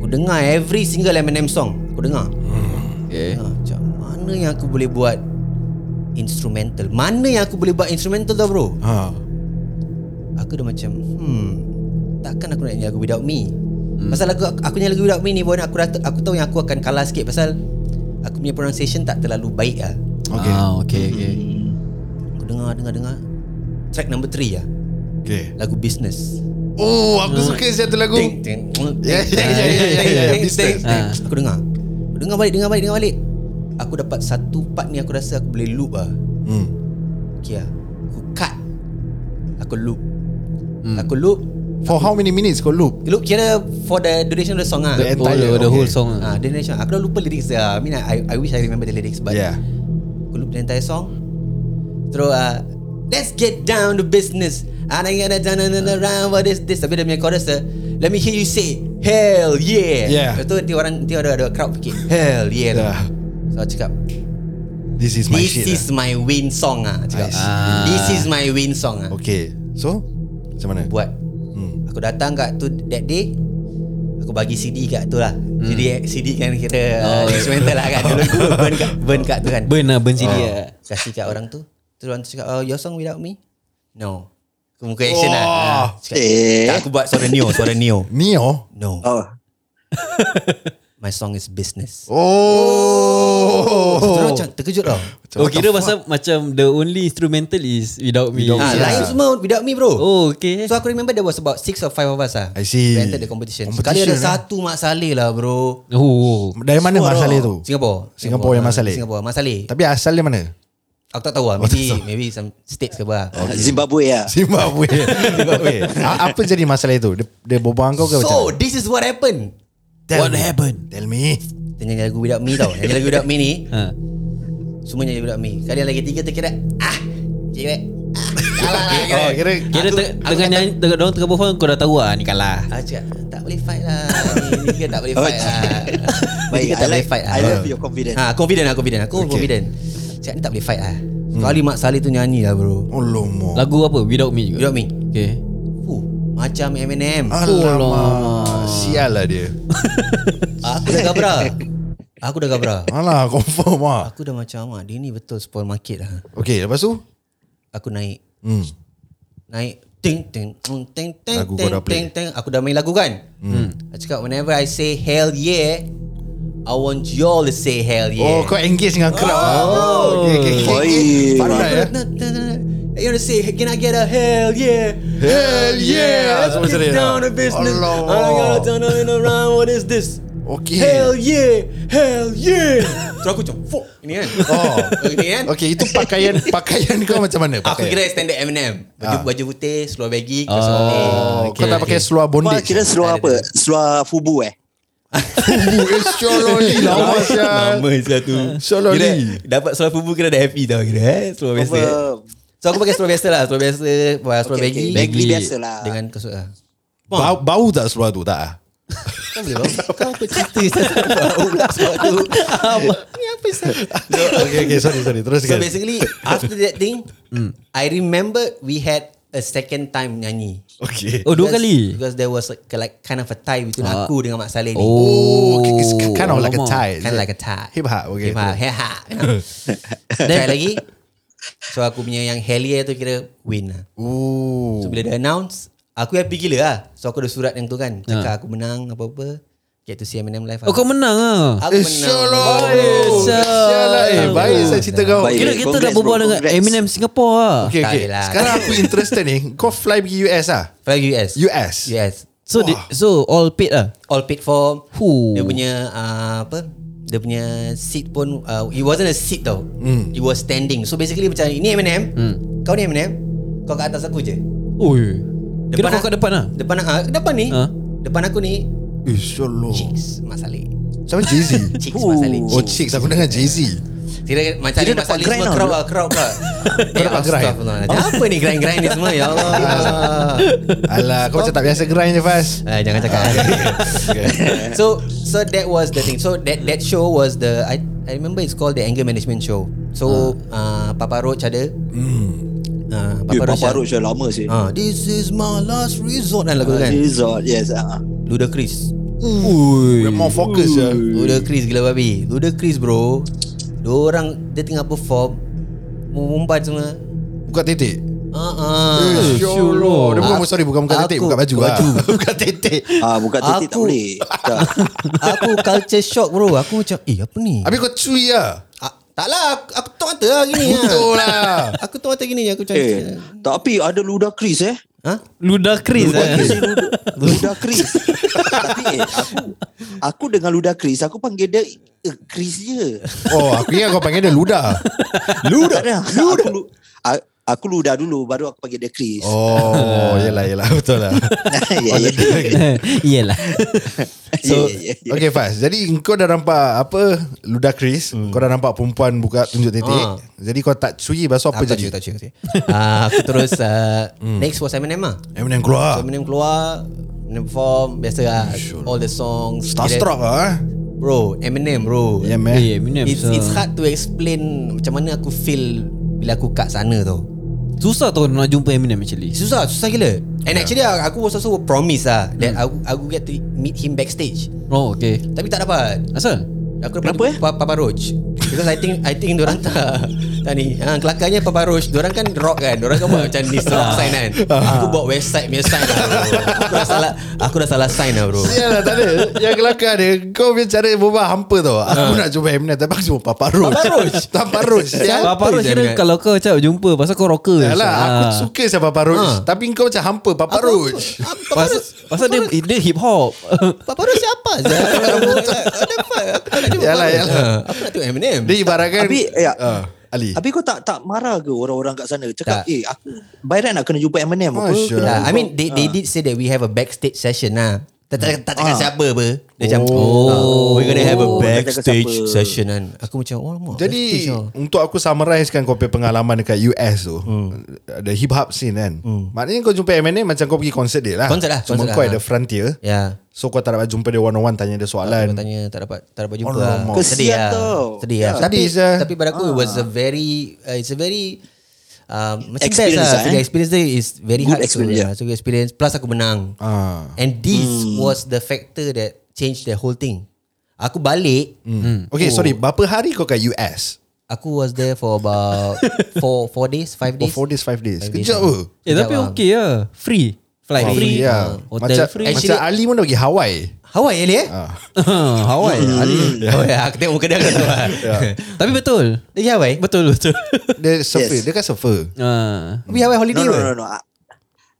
Speaker 7: Aku dengar every single Eminem song Aku dengar
Speaker 2: Okay.
Speaker 7: ha, Macam mana yang aku boleh buat Instrumental Mana yang aku boleh buat instrumental tau bro
Speaker 4: Ha.
Speaker 7: Aku dah macam Hmm Takkan aku nak nyanyi lagu Without Me hmm. Pasal aku, aku nyanyi lagu Without Me ni pun Aku, dah, aku tahu yang aku akan kalah sikit Pasal Aku punya pronunciation tak terlalu baik lah
Speaker 4: Okay.
Speaker 2: Ah, okay, okay.
Speaker 7: Aku dengar, dengar, dengar Track number 3 lah
Speaker 4: Okay.
Speaker 7: Lagu Business
Speaker 4: Oh, aku Ya, suka satu lagu.
Speaker 7: Ting, ting, ting,
Speaker 4: Yeah, yeah, yeah, yeah, yeah, yeah,
Speaker 7: ting, ting,
Speaker 4: business.
Speaker 7: ting.
Speaker 2: Ah.
Speaker 7: Aku dengar Aku dengar balik, dengar balik, dengar balik Aku dapat satu part ni aku rasa aku boleh loop lah
Speaker 4: Hmm.
Speaker 7: Okay lah Aku cut Aku loop
Speaker 4: Hmm.
Speaker 7: Aku loop
Speaker 4: For how many minutes kau loop?
Speaker 7: Loop kira for the duration of the song lah
Speaker 4: The
Speaker 2: Oh,
Speaker 4: Entire,
Speaker 2: the, the whole
Speaker 4: okay.
Speaker 2: song.
Speaker 7: Ah,
Speaker 2: ah.
Speaker 7: the duration Aku dah lupa lyrics dia ah. I mean I, I wish I remember the lyrics But
Speaker 4: Yeah.
Speaker 7: Aku loop the entire song Terus uh, Let's get down to business Ah, And I gotta turn and around for this this Tapi dia punya chorus dia, Let me hear you say Hell yeah
Speaker 4: Yeah.
Speaker 7: Lepas tu nanti orang Nanti ada, ada crowd fikir Hell
Speaker 4: Yeah.
Speaker 7: yeah, yeah. So aku cakap
Speaker 4: This is my
Speaker 7: This
Speaker 4: shit.
Speaker 7: is
Speaker 4: lah.
Speaker 7: my win song ah.
Speaker 4: I
Speaker 7: Cakap,
Speaker 4: see.
Speaker 7: This is my win song ah.
Speaker 4: lah. Okay. So, macam mana?
Speaker 7: buat hmm. aku datang kat tu that day aku bagi CD kat tu lah hmm. CD CD kan kira oh. instrumental lah kan dulu aku burn kat burn kat tu kan
Speaker 2: Burn lah, burn CD lah.
Speaker 7: kasih kat Ah. orang tu terus orang tu cakap oh, your song without me no aku muka action lah Ah, cakap,
Speaker 3: Eh.
Speaker 7: tak, aku buat suara Neo suara Neo
Speaker 4: Neo.
Speaker 7: no
Speaker 3: Oh.
Speaker 7: my song is business
Speaker 4: Oh.
Speaker 7: oh. terus macam terkejut tau
Speaker 2: Oh, kira pasal macam the only instrumental is without me.
Speaker 4: Without
Speaker 7: ah,
Speaker 4: me.
Speaker 2: Ah,
Speaker 7: lain semua without me bro
Speaker 2: Oh, okay.
Speaker 7: So aku remember there was about six or five of us ah.
Speaker 4: I see.
Speaker 7: We entered the competition. Sekali
Speaker 4: Competition,
Speaker 7: ada
Speaker 4: eh?
Speaker 7: satu Mak Saleh lah bro.
Speaker 2: Oh,
Speaker 4: Dari mana
Speaker 7: Singapore.
Speaker 4: masalah tu?
Speaker 7: Singapore.
Speaker 4: Singapore yang Mas Saleh?
Speaker 7: Singapore Mas Saleh.
Speaker 4: Tapi asal dia mana?
Speaker 7: Aku tak tahu lah.
Speaker 4: tak
Speaker 7: Maybe
Speaker 4: tahu. Oh.
Speaker 7: maybe some states ke apa. lah.
Speaker 3: Zimbabwe ya.
Speaker 4: Zimbabwe. Zimbabwe. A- Apa jadi masalah itu? Dia, dia bobang kau ke macam?
Speaker 7: So this is what happened.
Speaker 4: Tell
Speaker 2: What
Speaker 4: me.
Speaker 2: happened?
Speaker 4: Tell me.
Speaker 7: Dia nyanyi lagu Without Me tau. Nyanyi lagu Without Me ni.
Speaker 2: Ha.
Speaker 7: Semua nyanyi Without Me. Kali yang lagi tiga terkira. Ah. Kira. Ah. Kalah lah.
Speaker 4: Oh, kira
Speaker 2: Kira
Speaker 7: Aku-
Speaker 2: te-
Speaker 7: aku
Speaker 2: tengah
Speaker 7: kata-
Speaker 2: nyanyi, tengah dorang tengah perform kau dah tahu lah ni kalah.
Speaker 7: Aku cakap tak boleh fight lah. Ni Tiga tak boleh
Speaker 3: Oh,
Speaker 7: fight lah. Ni
Speaker 3: Baik,
Speaker 7: Tiga
Speaker 3: I
Speaker 7: tak boleh
Speaker 3: like-
Speaker 7: fight lah.
Speaker 3: I love your confidence.
Speaker 7: Ha, confident lah, confident. Aku
Speaker 4: Okay.
Speaker 3: Hmm.
Speaker 7: confident. Cakap ni tak boleh fight lah. Kali Mat Saleh tu nyanyi lah bro
Speaker 4: Alamak
Speaker 2: Lagu apa? Without Me juga?
Speaker 7: Without Me.
Speaker 2: Okay
Speaker 7: Fuh, macam Eminem
Speaker 4: Alamak Sial lah dia
Speaker 7: Aku dah gabra Aku dah gabra
Speaker 4: Alah confirm lah
Speaker 7: Aku dah macam ah, Dia ni betul spoil market lah
Speaker 4: Okay lepas tu
Speaker 7: Aku naik
Speaker 4: hmm.
Speaker 7: Naik Ting ting ting ting ting
Speaker 4: Lagu kau
Speaker 7: ting
Speaker 4: dah play.
Speaker 7: ting ting Aku dah main lagu kan hmm. Aku cakap whenever I say hell yeah I want you all to say hell
Speaker 4: Oh
Speaker 7: yeah
Speaker 4: kau engage dengan crowd Oh okay, okay, okay, okay.
Speaker 3: Oi.
Speaker 4: Pandai ya
Speaker 7: Na- na- na- na- You want to say Can I get a hell yeah
Speaker 4: Hell yeah Semua macam
Speaker 7: Get
Speaker 4: dia.
Speaker 7: down to business
Speaker 4: Allah
Speaker 7: I gotta turn on in around What is this
Speaker 4: Okay.
Speaker 7: Hell yeah Hell yeah Terus aku macam Fuck Ini kan
Speaker 4: Oh.
Speaker 7: Ini kan
Speaker 4: Okay itu pakaian Pakaian kau macam mana
Speaker 7: Aku
Speaker 4: pakaian?
Speaker 7: kira standard Eminem Baju,
Speaker 4: Ah.
Speaker 7: baju putih Seluar baggy
Speaker 2: Oh.
Speaker 7: Kau oh.
Speaker 4: Kau tak pakai seluar
Speaker 3: Wah,
Speaker 4: bondage
Speaker 3: kira seluar apa? Seluar fubu eh?
Speaker 4: Fubu Eshololi Lama sial
Speaker 7: Lama satu Kira
Speaker 4: Eshololi
Speaker 7: Dapat seluar fubu Kira dah happy tau Kira eh Seluar biasa
Speaker 3: Confirm.
Speaker 7: So aku pakai seluar biasa lah Seluar biasa Seluar
Speaker 3: Okay, okay.
Speaker 7: baggy
Speaker 3: Baggy biasalah.
Speaker 7: Dengan kasut lah
Speaker 4: Bau, bau tak seluar tu tak? ah?
Speaker 7: Kau boleh bau Kau apa cerita Ustaz? Bau lah seluar tu Ni apa Ustaz?
Speaker 4: Okay okay sorry kan? sorry
Speaker 7: So
Speaker 4: Teruskan
Speaker 7: basically After that thing I remember We had A second time nyanyi
Speaker 4: Okay
Speaker 2: Oh dua
Speaker 7: Because-
Speaker 2: kali?
Speaker 7: Because there was like, like Kind of a tie Between
Speaker 2: Ah.
Speaker 7: aku dengan Mak Saleh ni
Speaker 4: Oh, it's kind of like a
Speaker 2: alamak.
Speaker 4: tie.
Speaker 7: Kind of like a tie
Speaker 4: Hip hop, okay.
Speaker 7: Hip hop Hip hop you know. Try lagi So aku punya yang Hell yeah tu kira Win lah
Speaker 4: Ooh.
Speaker 7: So bila dia announce Aku happy gila lah So aku ada surat yang tu
Speaker 4: Ha.
Speaker 7: kan Cakap aku menang Apa-apa Get to see Eminem live
Speaker 2: Oh
Speaker 7: lah.
Speaker 2: kau menang ah.
Speaker 7: Aku
Speaker 4: Eh,
Speaker 7: menang
Speaker 4: syolong.
Speaker 2: Baik, lah. sial.
Speaker 4: Sial lah. Eh, baik saya cerita kau.
Speaker 3: Baik.
Speaker 2: Kira kita dah
Speaker 3: congrats,
Speaker 2: berbual
Speaker 3: bro,
Speaker 2: dengan
Speaker 3: congrats.
Speaker 2: Eminem Singapore ah.
Speaker 4: Okay,
Speaker 7: Tak
Speaker 4: okay.
Speaker 7: boleh lah.
Speaker 4: Sekarang aku interested ni. Kau fly pergi US ah?
Speaker 7: Fly US
Speaker 4: US?
Speaker 7: Yes
Speaker 2: So di, so all paid ah.
Speaker 7: all paid for.
Speaker 2: Huh.
Speaker 7: Dia punya uh, apa? Dia punya seat pun uh, it wasn't a seat tau.
Speaker 4: Hmm.
Speaker 7: It was standing. So basically macam ini Eminem, kau ni Eminem, kau kat atas aku je.
Speaker 2: Oi. Kira
Speaker 7: Depan
Speaker 2: kau
Speaker 7: ah-
Speaker 2: kat depan ah.
Speaker 7: Depan uh, depan ni.
Speaker 4: Ha?
Speaker 2: Ah.
Speaker 7: Depan aku ni
Speaker 4: Eh, solo.
Speaker 7: Chicks Mat Saleh.
Speaker 4: Sama Jay-Z.
Speaker 7: Chicks Mat Saleh.
Speaker 4: Oh, chicks. Aku dengar Jay-Z.
Speaker 7: Kira macam
Speaker 3: Kira
Speaker 7: ni Mat
Speaker 3: dapat
Speaker 7: Saleh
Speaker 3: grind
Speaker 7: semua
Speaker 3: tau,
Speaker 7: crowd
Speaker 3: bro.
Speaker 7: lah, crowd lah.
Speaker 4: Kau dapat grind?
Speaker 7: Apa ni grind-grind ni semua? Ya Allah.
Speaker 4: Alah, kau macam tak biasa grind je, Faz.
Speaker 7: Ah, jangan cakap. so so that was the thing. So that that show was the I I remember it's called the anger management show. So uh, Papa Roach ada. Uh,
Speaker 3: Ah. Eh,
Speaker 7: Papa Roach.
Speaker 3: Papa
Speaker 7: ada.
Speaker 3: Roach dah lama sih.
Speaker 7: Ah, this is my last resort kan lagu tu kan.
Speaker 3: Resort, yes. ah.
Speaker 7: Ludacris.
Speaker 4: We're more focused je.
Speaker 7: Ludacris gila babi. Ludacris bro. Orang dia tengah perform mumpat semua.
Speaker 4: Buka titik.
Speaker 7: Ah ah.
Speaker 4: Eh, solo. Dia bukan,
Speaker 7: Aku-
Speaker 4: sorry, bukan buka titik. Buka
Speaker 7: aku-
Speaker 4: baju lah. Buka titik.
Speaker 3: Ah, buka titik tak
Speaker 7: Aku-
Speaker 3: boleh. Tak.
Speaker 7: aku culture shock bro. Aku macam eh apa ni?
Speaker 4: Habis kau cuy lah.
Speaker 7: Ah, tak lah aku, aku tok mata lah gini lah.
Speaker 4: Betul lah.
Speaker 7: Aku tok mata gini aku macam
Speaker 3: Eh, tapi ada Ludacris eh.
Speaker 7: Ha?
Speaker 2: Ludacris
Speaker 3: Ludacris.
Speaker 2: eh.
Speaker 3: Ludacris. tapi eh, aku aku dengan Ludacris, aku panggil dia eh, Chris je.
Speaker 4: Oh, aku ingat kau panggil dia Luda.
Speaker 3: Luda. Luda. Aku, lu- a- aku Luda dulu baru aku panggil dia Chris.
Speaker 4: Oh, yelah, yelah. Betul lah.
Speaker 3: ya, ya.
Speaker 2: Iyalah.
Speaker 3: So,
Speaker 4: Okay Faz Jadi kau dah nampak Apa Ludacris hmm. Kau dah nampak perempuan Buka tunjuk titik
Speaker 7: Ah.
Speaker 4: Jadi kau tak cuy Lepas tu apa
Speaker 7: Apa tak
Speaker 4: jadi Hmm.
Speaker 7: cuy, tak cuy, tak cuy. Ah, aku terus uh, next was Eminem lah.
Speaker 4: Eminem Eh, keluar
Speaker 7: Eminem keluar, Eminem perform biasa lah. All the songs.
Speaker 4: Starstruck lah eh.
Speaker 7: Bro, Eminem bro.
Speaker 4: Yeah man
Speaker 2: Eh, Eminem.
Speaker 7: It's,
Speaker 2: so-
Speaker 7: it's hard to explain macam mana aku feel bila aku kat sana tau.
Speaker 2: Susah tau nak jumpa Eminem actually.
Speaker 7: Susah, susah gila. And
Speaker 4: Ya.
Speaker 7: actually ah, aku- aku was also promise lah
Speaker 4: Hmm.
Speaker 7: that aku, aku get to meet him backstage.
Speaker 2: Oh okay.
Speaker 7: Tapi tak dapat.
Speaker 2: Asal?
Speaker 7: Aku dapat
Speaker 3: Kenapa,
Speaker 7: Kenapa, Papa, Papa Roach Because I think I think diorang tak Tak ni ha, Kelakarnya Papa Roach Diorang kan rock kan Diorang kan buat macam ni Rock sign kan Aku buat website punya sign lah bro Aku dah salah Aku dah salah sign lah bro
Speaker 4: Sial lah tak ada Yang kelakar dia Kau punya cara berubah hampa tau Aku nak jumpa Eminem Tapi aku jumpa Papa Roach Papa Roach Papa Roach Sial
Speaker 2: Papa Roach kira kalau kau cakap jumpa pasal kau rocker.
Speaker 4: Yalah,
Speaker 2: Ah.
Speaker 4: aku suka sama Papa Roach Tapi kau macam hampa Papa Roach
Speaker 7: Ah, Papa
Speaker 2: Pasal,
Speaker 7: Roach
Speaker 2: pasal dia, dia hip hop.
Speaker 7: Papa Roach siapa Zah? What the fuck? Aku tak nak tengok
Speaker 4: Yalah,
Speaker 7: Papa Roach.
Speaker 4: yalah.
Speaker 7: Ah, Aku nak tengok Eminem
Speaker 4: Dia ibaratkan
Speaker 3: Habis, ya.
Speaker 4: Ah, Ali
Speaker 3: Habis kau tak tak marah ke orang-orang kat sana? Cakap,
Speaker 7: Tak.
Speaker 3: eh aku by right nak kena jumpa Eminem apa?
Speaker 4: Masya
Speaker 7: Yeah, I mean they, they did say that we have a backstage session lah Tak, tak, tak cakap siapa apa Dia macam
Speaker 2: Oh.
Speaker 7: oh, We're gonna have a
Speaker 3: Oh, tak cakap
Speaker 7: backstage
Speaker 3: siapa.
Speaker 7: session kan Aku macam Oh lama
Speaker 4: Jadi Untuk aku summarize kan Kau punya pengalaman Dekat US tu hmm. The hip hop scene kan hmm. Maknanya kau jumpa Eminem Macam kau pergi konsert dia lah
Speaker 7: Konsert lah,
Speaker 4: Cuma
Speaker 7: konsert
Speaker 4: kau
Speaker 7: lah.
Speaker 4: ada frontier
Speaker 7: Ya
Speaker 4: So kau tak dapat jumpa dia one on one Tanya dia soalan
Speaker 7: Aku tanya tak dapat tak dapat jumpa.
Speaker 4: Oh,
Speaker 7: lah.
Speaker 4: lama.
Speaker 3: Kan?
Speaker 7: Sedih
Speaker 3: Kesian
Speaker 7: lah.
Speaker 3: tau.
Speaker 7: Sedih lah.
Speaker 4: Ya.
Speaker 7: Tapi
Speaker 4: Sedih Ah. je.
Speaker 7: tapi pada aku it was a very uh, it's a very uh, macam best
Speaker 3: Experience
Speaker 7: lah.
Speaker 3: lah,
Speaker 7: So, the
Speaker 3: eh.
Speaker 7: experience dia is very
Speaker 3: Good
Speaker 7: hard
Speaker 3: experience,
Speaker 7: to
Speaker 3: yeah. Hmm.
Speaker 7: yeah. so good experience plus aku menang.
Speaker 4: Ah.
Speaker 7: And this was the factor that changed the whole thing. Aku balik
Speaker 4: Hmm. Okay oh. sorry Berapa hari kau kat US
Speaker 7: Aku was there for about four four days, five
Speaker 4: Oh
Speaker 7: days.
Speaker 4: 4 days 5 days
Speaker 7: Five days
Speaker 4: Kejap
Speaker 7: lah.
Speaker 4: apa
Speaker 2: Eh tapi
Speaker 7: Sekejap,
Speaker 2: okay lah Free Flight
Speaker 4: Wow,
Speaker 2: free,
Speaker 4: yeah.
Speaker 7: Oh,
Speaker 2: Hotel
Speaker 4: ya. macam,
Speaker 2: free
Speaker 4: Macam Ali pun dah pergi Hawaii
Speaker 7: Hawaii Ali
Speaker 4: Ah,
Speaker 7: eh?
Speaker 2: Hawaii
Speaker 3: Hmm.
Speaker 2: Ali
Speaker 7: Oh ya, aku tengok muka dia aku dah tahu lah.
Speaker 2: Tapi betul
Speaker 7: Dia pergi Hawaii?
Speaker 2: Betul betul
Speaker 4: Dia surfer yes. Dia kan surfer
Speaker 2: Ah,
Speaker 7: Pergi Hawaii
Speaker 3: No,
Speaker 7: holiday
Speaker 3: no,
Speaker 7: ke?
Speaker 3: no, no. Ah,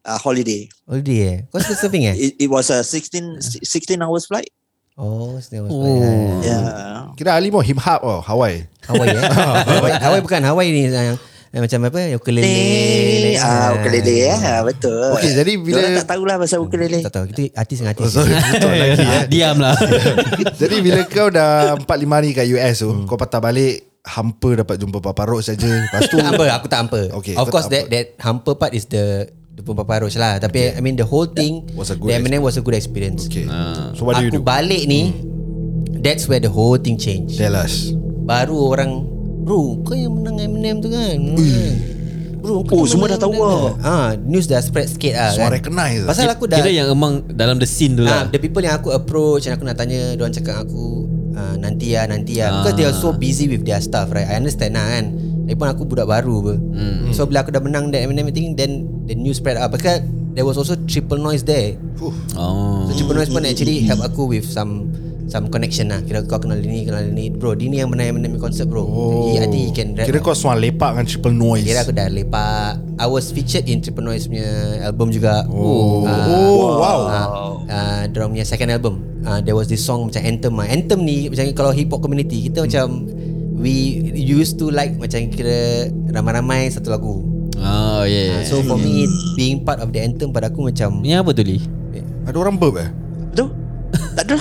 Speaker 3: ah, holiday.
Speaker 7: Holiday eh? Kau suka surfing eh?
Speaker 3: It, it was a 16, 16 hours flight.
Speaker 7: Oh, snow
Speaker 2: Oh.
Speaker 3: Yeah.
Speaker 4: Kira Ali pun hip hop oh, Hawaii
Speaker 7: Hawaii eh. Hawaii, Hawaii bukan Hawaii ni sayang. Eh, macam apa? Ukulele.
Speaker 3: Ukulele. Ah, ukulele eh. Ah, betul.
Speaker 4: Okey, jadi bila-
Speaker 3: Diorang tak tahulah pasal ukulele.
Speaker 7: Hmm, Tak tahu. Itu artis dengan
Speaker 4: Oh,
Speaker 7: artis.
Speaker 4: eh.
Speaker 2: Ah, Diam lah
Speaker 4: Jadi bila kau dah 4-5 hari kat US tu Kau patah balik Hampa dapat jumpa Papa Roach saja Lepas tu
Speaker 7: tak hampa, aku tak hampa.
Speaker 4: Okay,
Speaker 7: of
Speaker 4: kau
Speaker 7: course
Speaker 4: tak
Speaker 7: that that hampa part is the the Papa Roach lah. Tapi I mean the whole thing
Speaker 4: Was a good
Speaker 7: the Eminem was a good experience.
Speaker 4: Okay So what do you do?
Speaker 7: Aku balik ni that's where the whole thing change.
Speaker 4: Tell us
Speaker 7: Baru orang Bro kau yang menang Eminem tu kan Kan? Bro kau
Speaker 3: Oh,
Speaker 7: yang
Speaker 3: semua dah
Speaker 7: menang
Speaker 3: tahu
Speaker 7: Eminem tu kan? Ah, News dah spread sikit lah
Speaker 4: Semua
Speaker 7: kan?
Speaker 4: recognize lah.
Speaker 7: Pasal aku dah
Speaker 2: Kira yang emang Dalam the scene tu
Speaker 7: Ah,
Speaker 2: lah
Speaker 7: the people yang aku approach and aku nak tanya, diorang cakap aku ah, nanti lah, nanti lah. Because they are
Speaker 4: Ah.
Speaker 7: so busy with their stuff, right? I understand lah kan. Lagipun aku budak baru apa.
Speaker 4: Hmm.
Speaker 7: So bila aku dah menang that Eminem thing, then the news spread out. Because there was also triple noise there.
Speaker 2: Oh
Speaker 7: So
Speaker 4: Hmm.
Speaker 7: triple noise pun actually help aku with some some connection lah. Kira kau kenal dia ni, kenal dia ni. Bro, dia ni yang menang Eminem concert bro. He, I think he can rap.
Speaker 4: Oh. Kira
Speaker 7: lah.
Speaker 4: kau suan lepak dengan triple noise
Speaker 7: Kira aku dah lepak I was featured in Triple Noise punya album juga Oh,
Speaker 4: Oh, wow.
Speaker 7: uh, Diorang punya second album uh, There was this song macam Anthem lah Anthem ni macam kalau hip hop community Kita macam We used to like macam kira Ramai-ramai satu lagu
Speaker 2: Oh yeah
Speaker 7: uh, So for me Being part of the Anthem pada aku macam
Speaker 2: Ni apa tu Lee?
Speaker 4: Ada orang burp eh?
Speaker 3: Betul? Tak ada.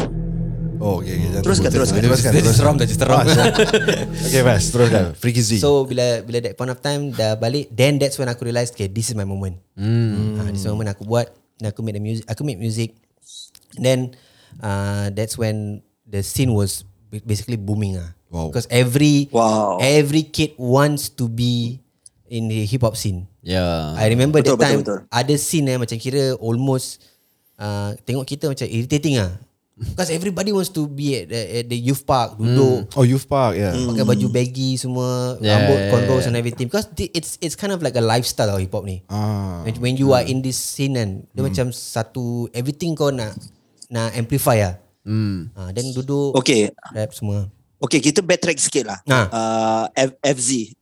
Speaker 4: Oh okay, okay. Jangan
Speaker 3: Teruskan,
Speaker 4: burp.
Speaker 3: teruskan.
Speaker 4: Teruskan teruskan.
Speaker 7: Seram dah seram
Speaker 4: Ah, siap. Okay Fas Teruskan Freaky Z
Speaker 7: So bila bila that point of time dah balik then that's when aku realised okay this is my moment. Hmm. Uh, this is my moment aku buat dan aku make the music aku make music then uh, that's when the scene was ba- basically booming ah.
Speaker 4: Wow.
Speaker 7: Because every
Speaker 3: Wow.
Speaker 7: every kid wants to be in the hip hop scene.
Speaker 2: Yeah
Speaker 7: I remember
Speaker 3: Betul, betul,
Speaker 7: betul, that time
Speaker 3: betul.
Speaker 7: betul, betul. ada scene eh macam kira almost uh, tengok kita macam irritating ah. Because everybody wants to be at the, at the youth park duduk
Speaker 4: Oh Youth Park yeah.
Speaker 7: pakai baju baggy semua
Speaker 2: Yeah,
Speaker 7: yeah, rambut
Speaker 2: yeah,
Speaker 7: yeah, cornrows and everything because the- it's it's kind of like a lifestyle tau hip hop ni
Speaker 4: Ah.
Speaker 7: when, when you are in this scene kan dia macam satu everything kau nak nak amplify lah mm. ha, then duduk
Speaker 3: Okay.
Speaker 7: rap semua
Speaker 3: Okay, kita backtrack sikit lah.
Speaker 7: Ah.
Speaker 3: Uh, F- FZ.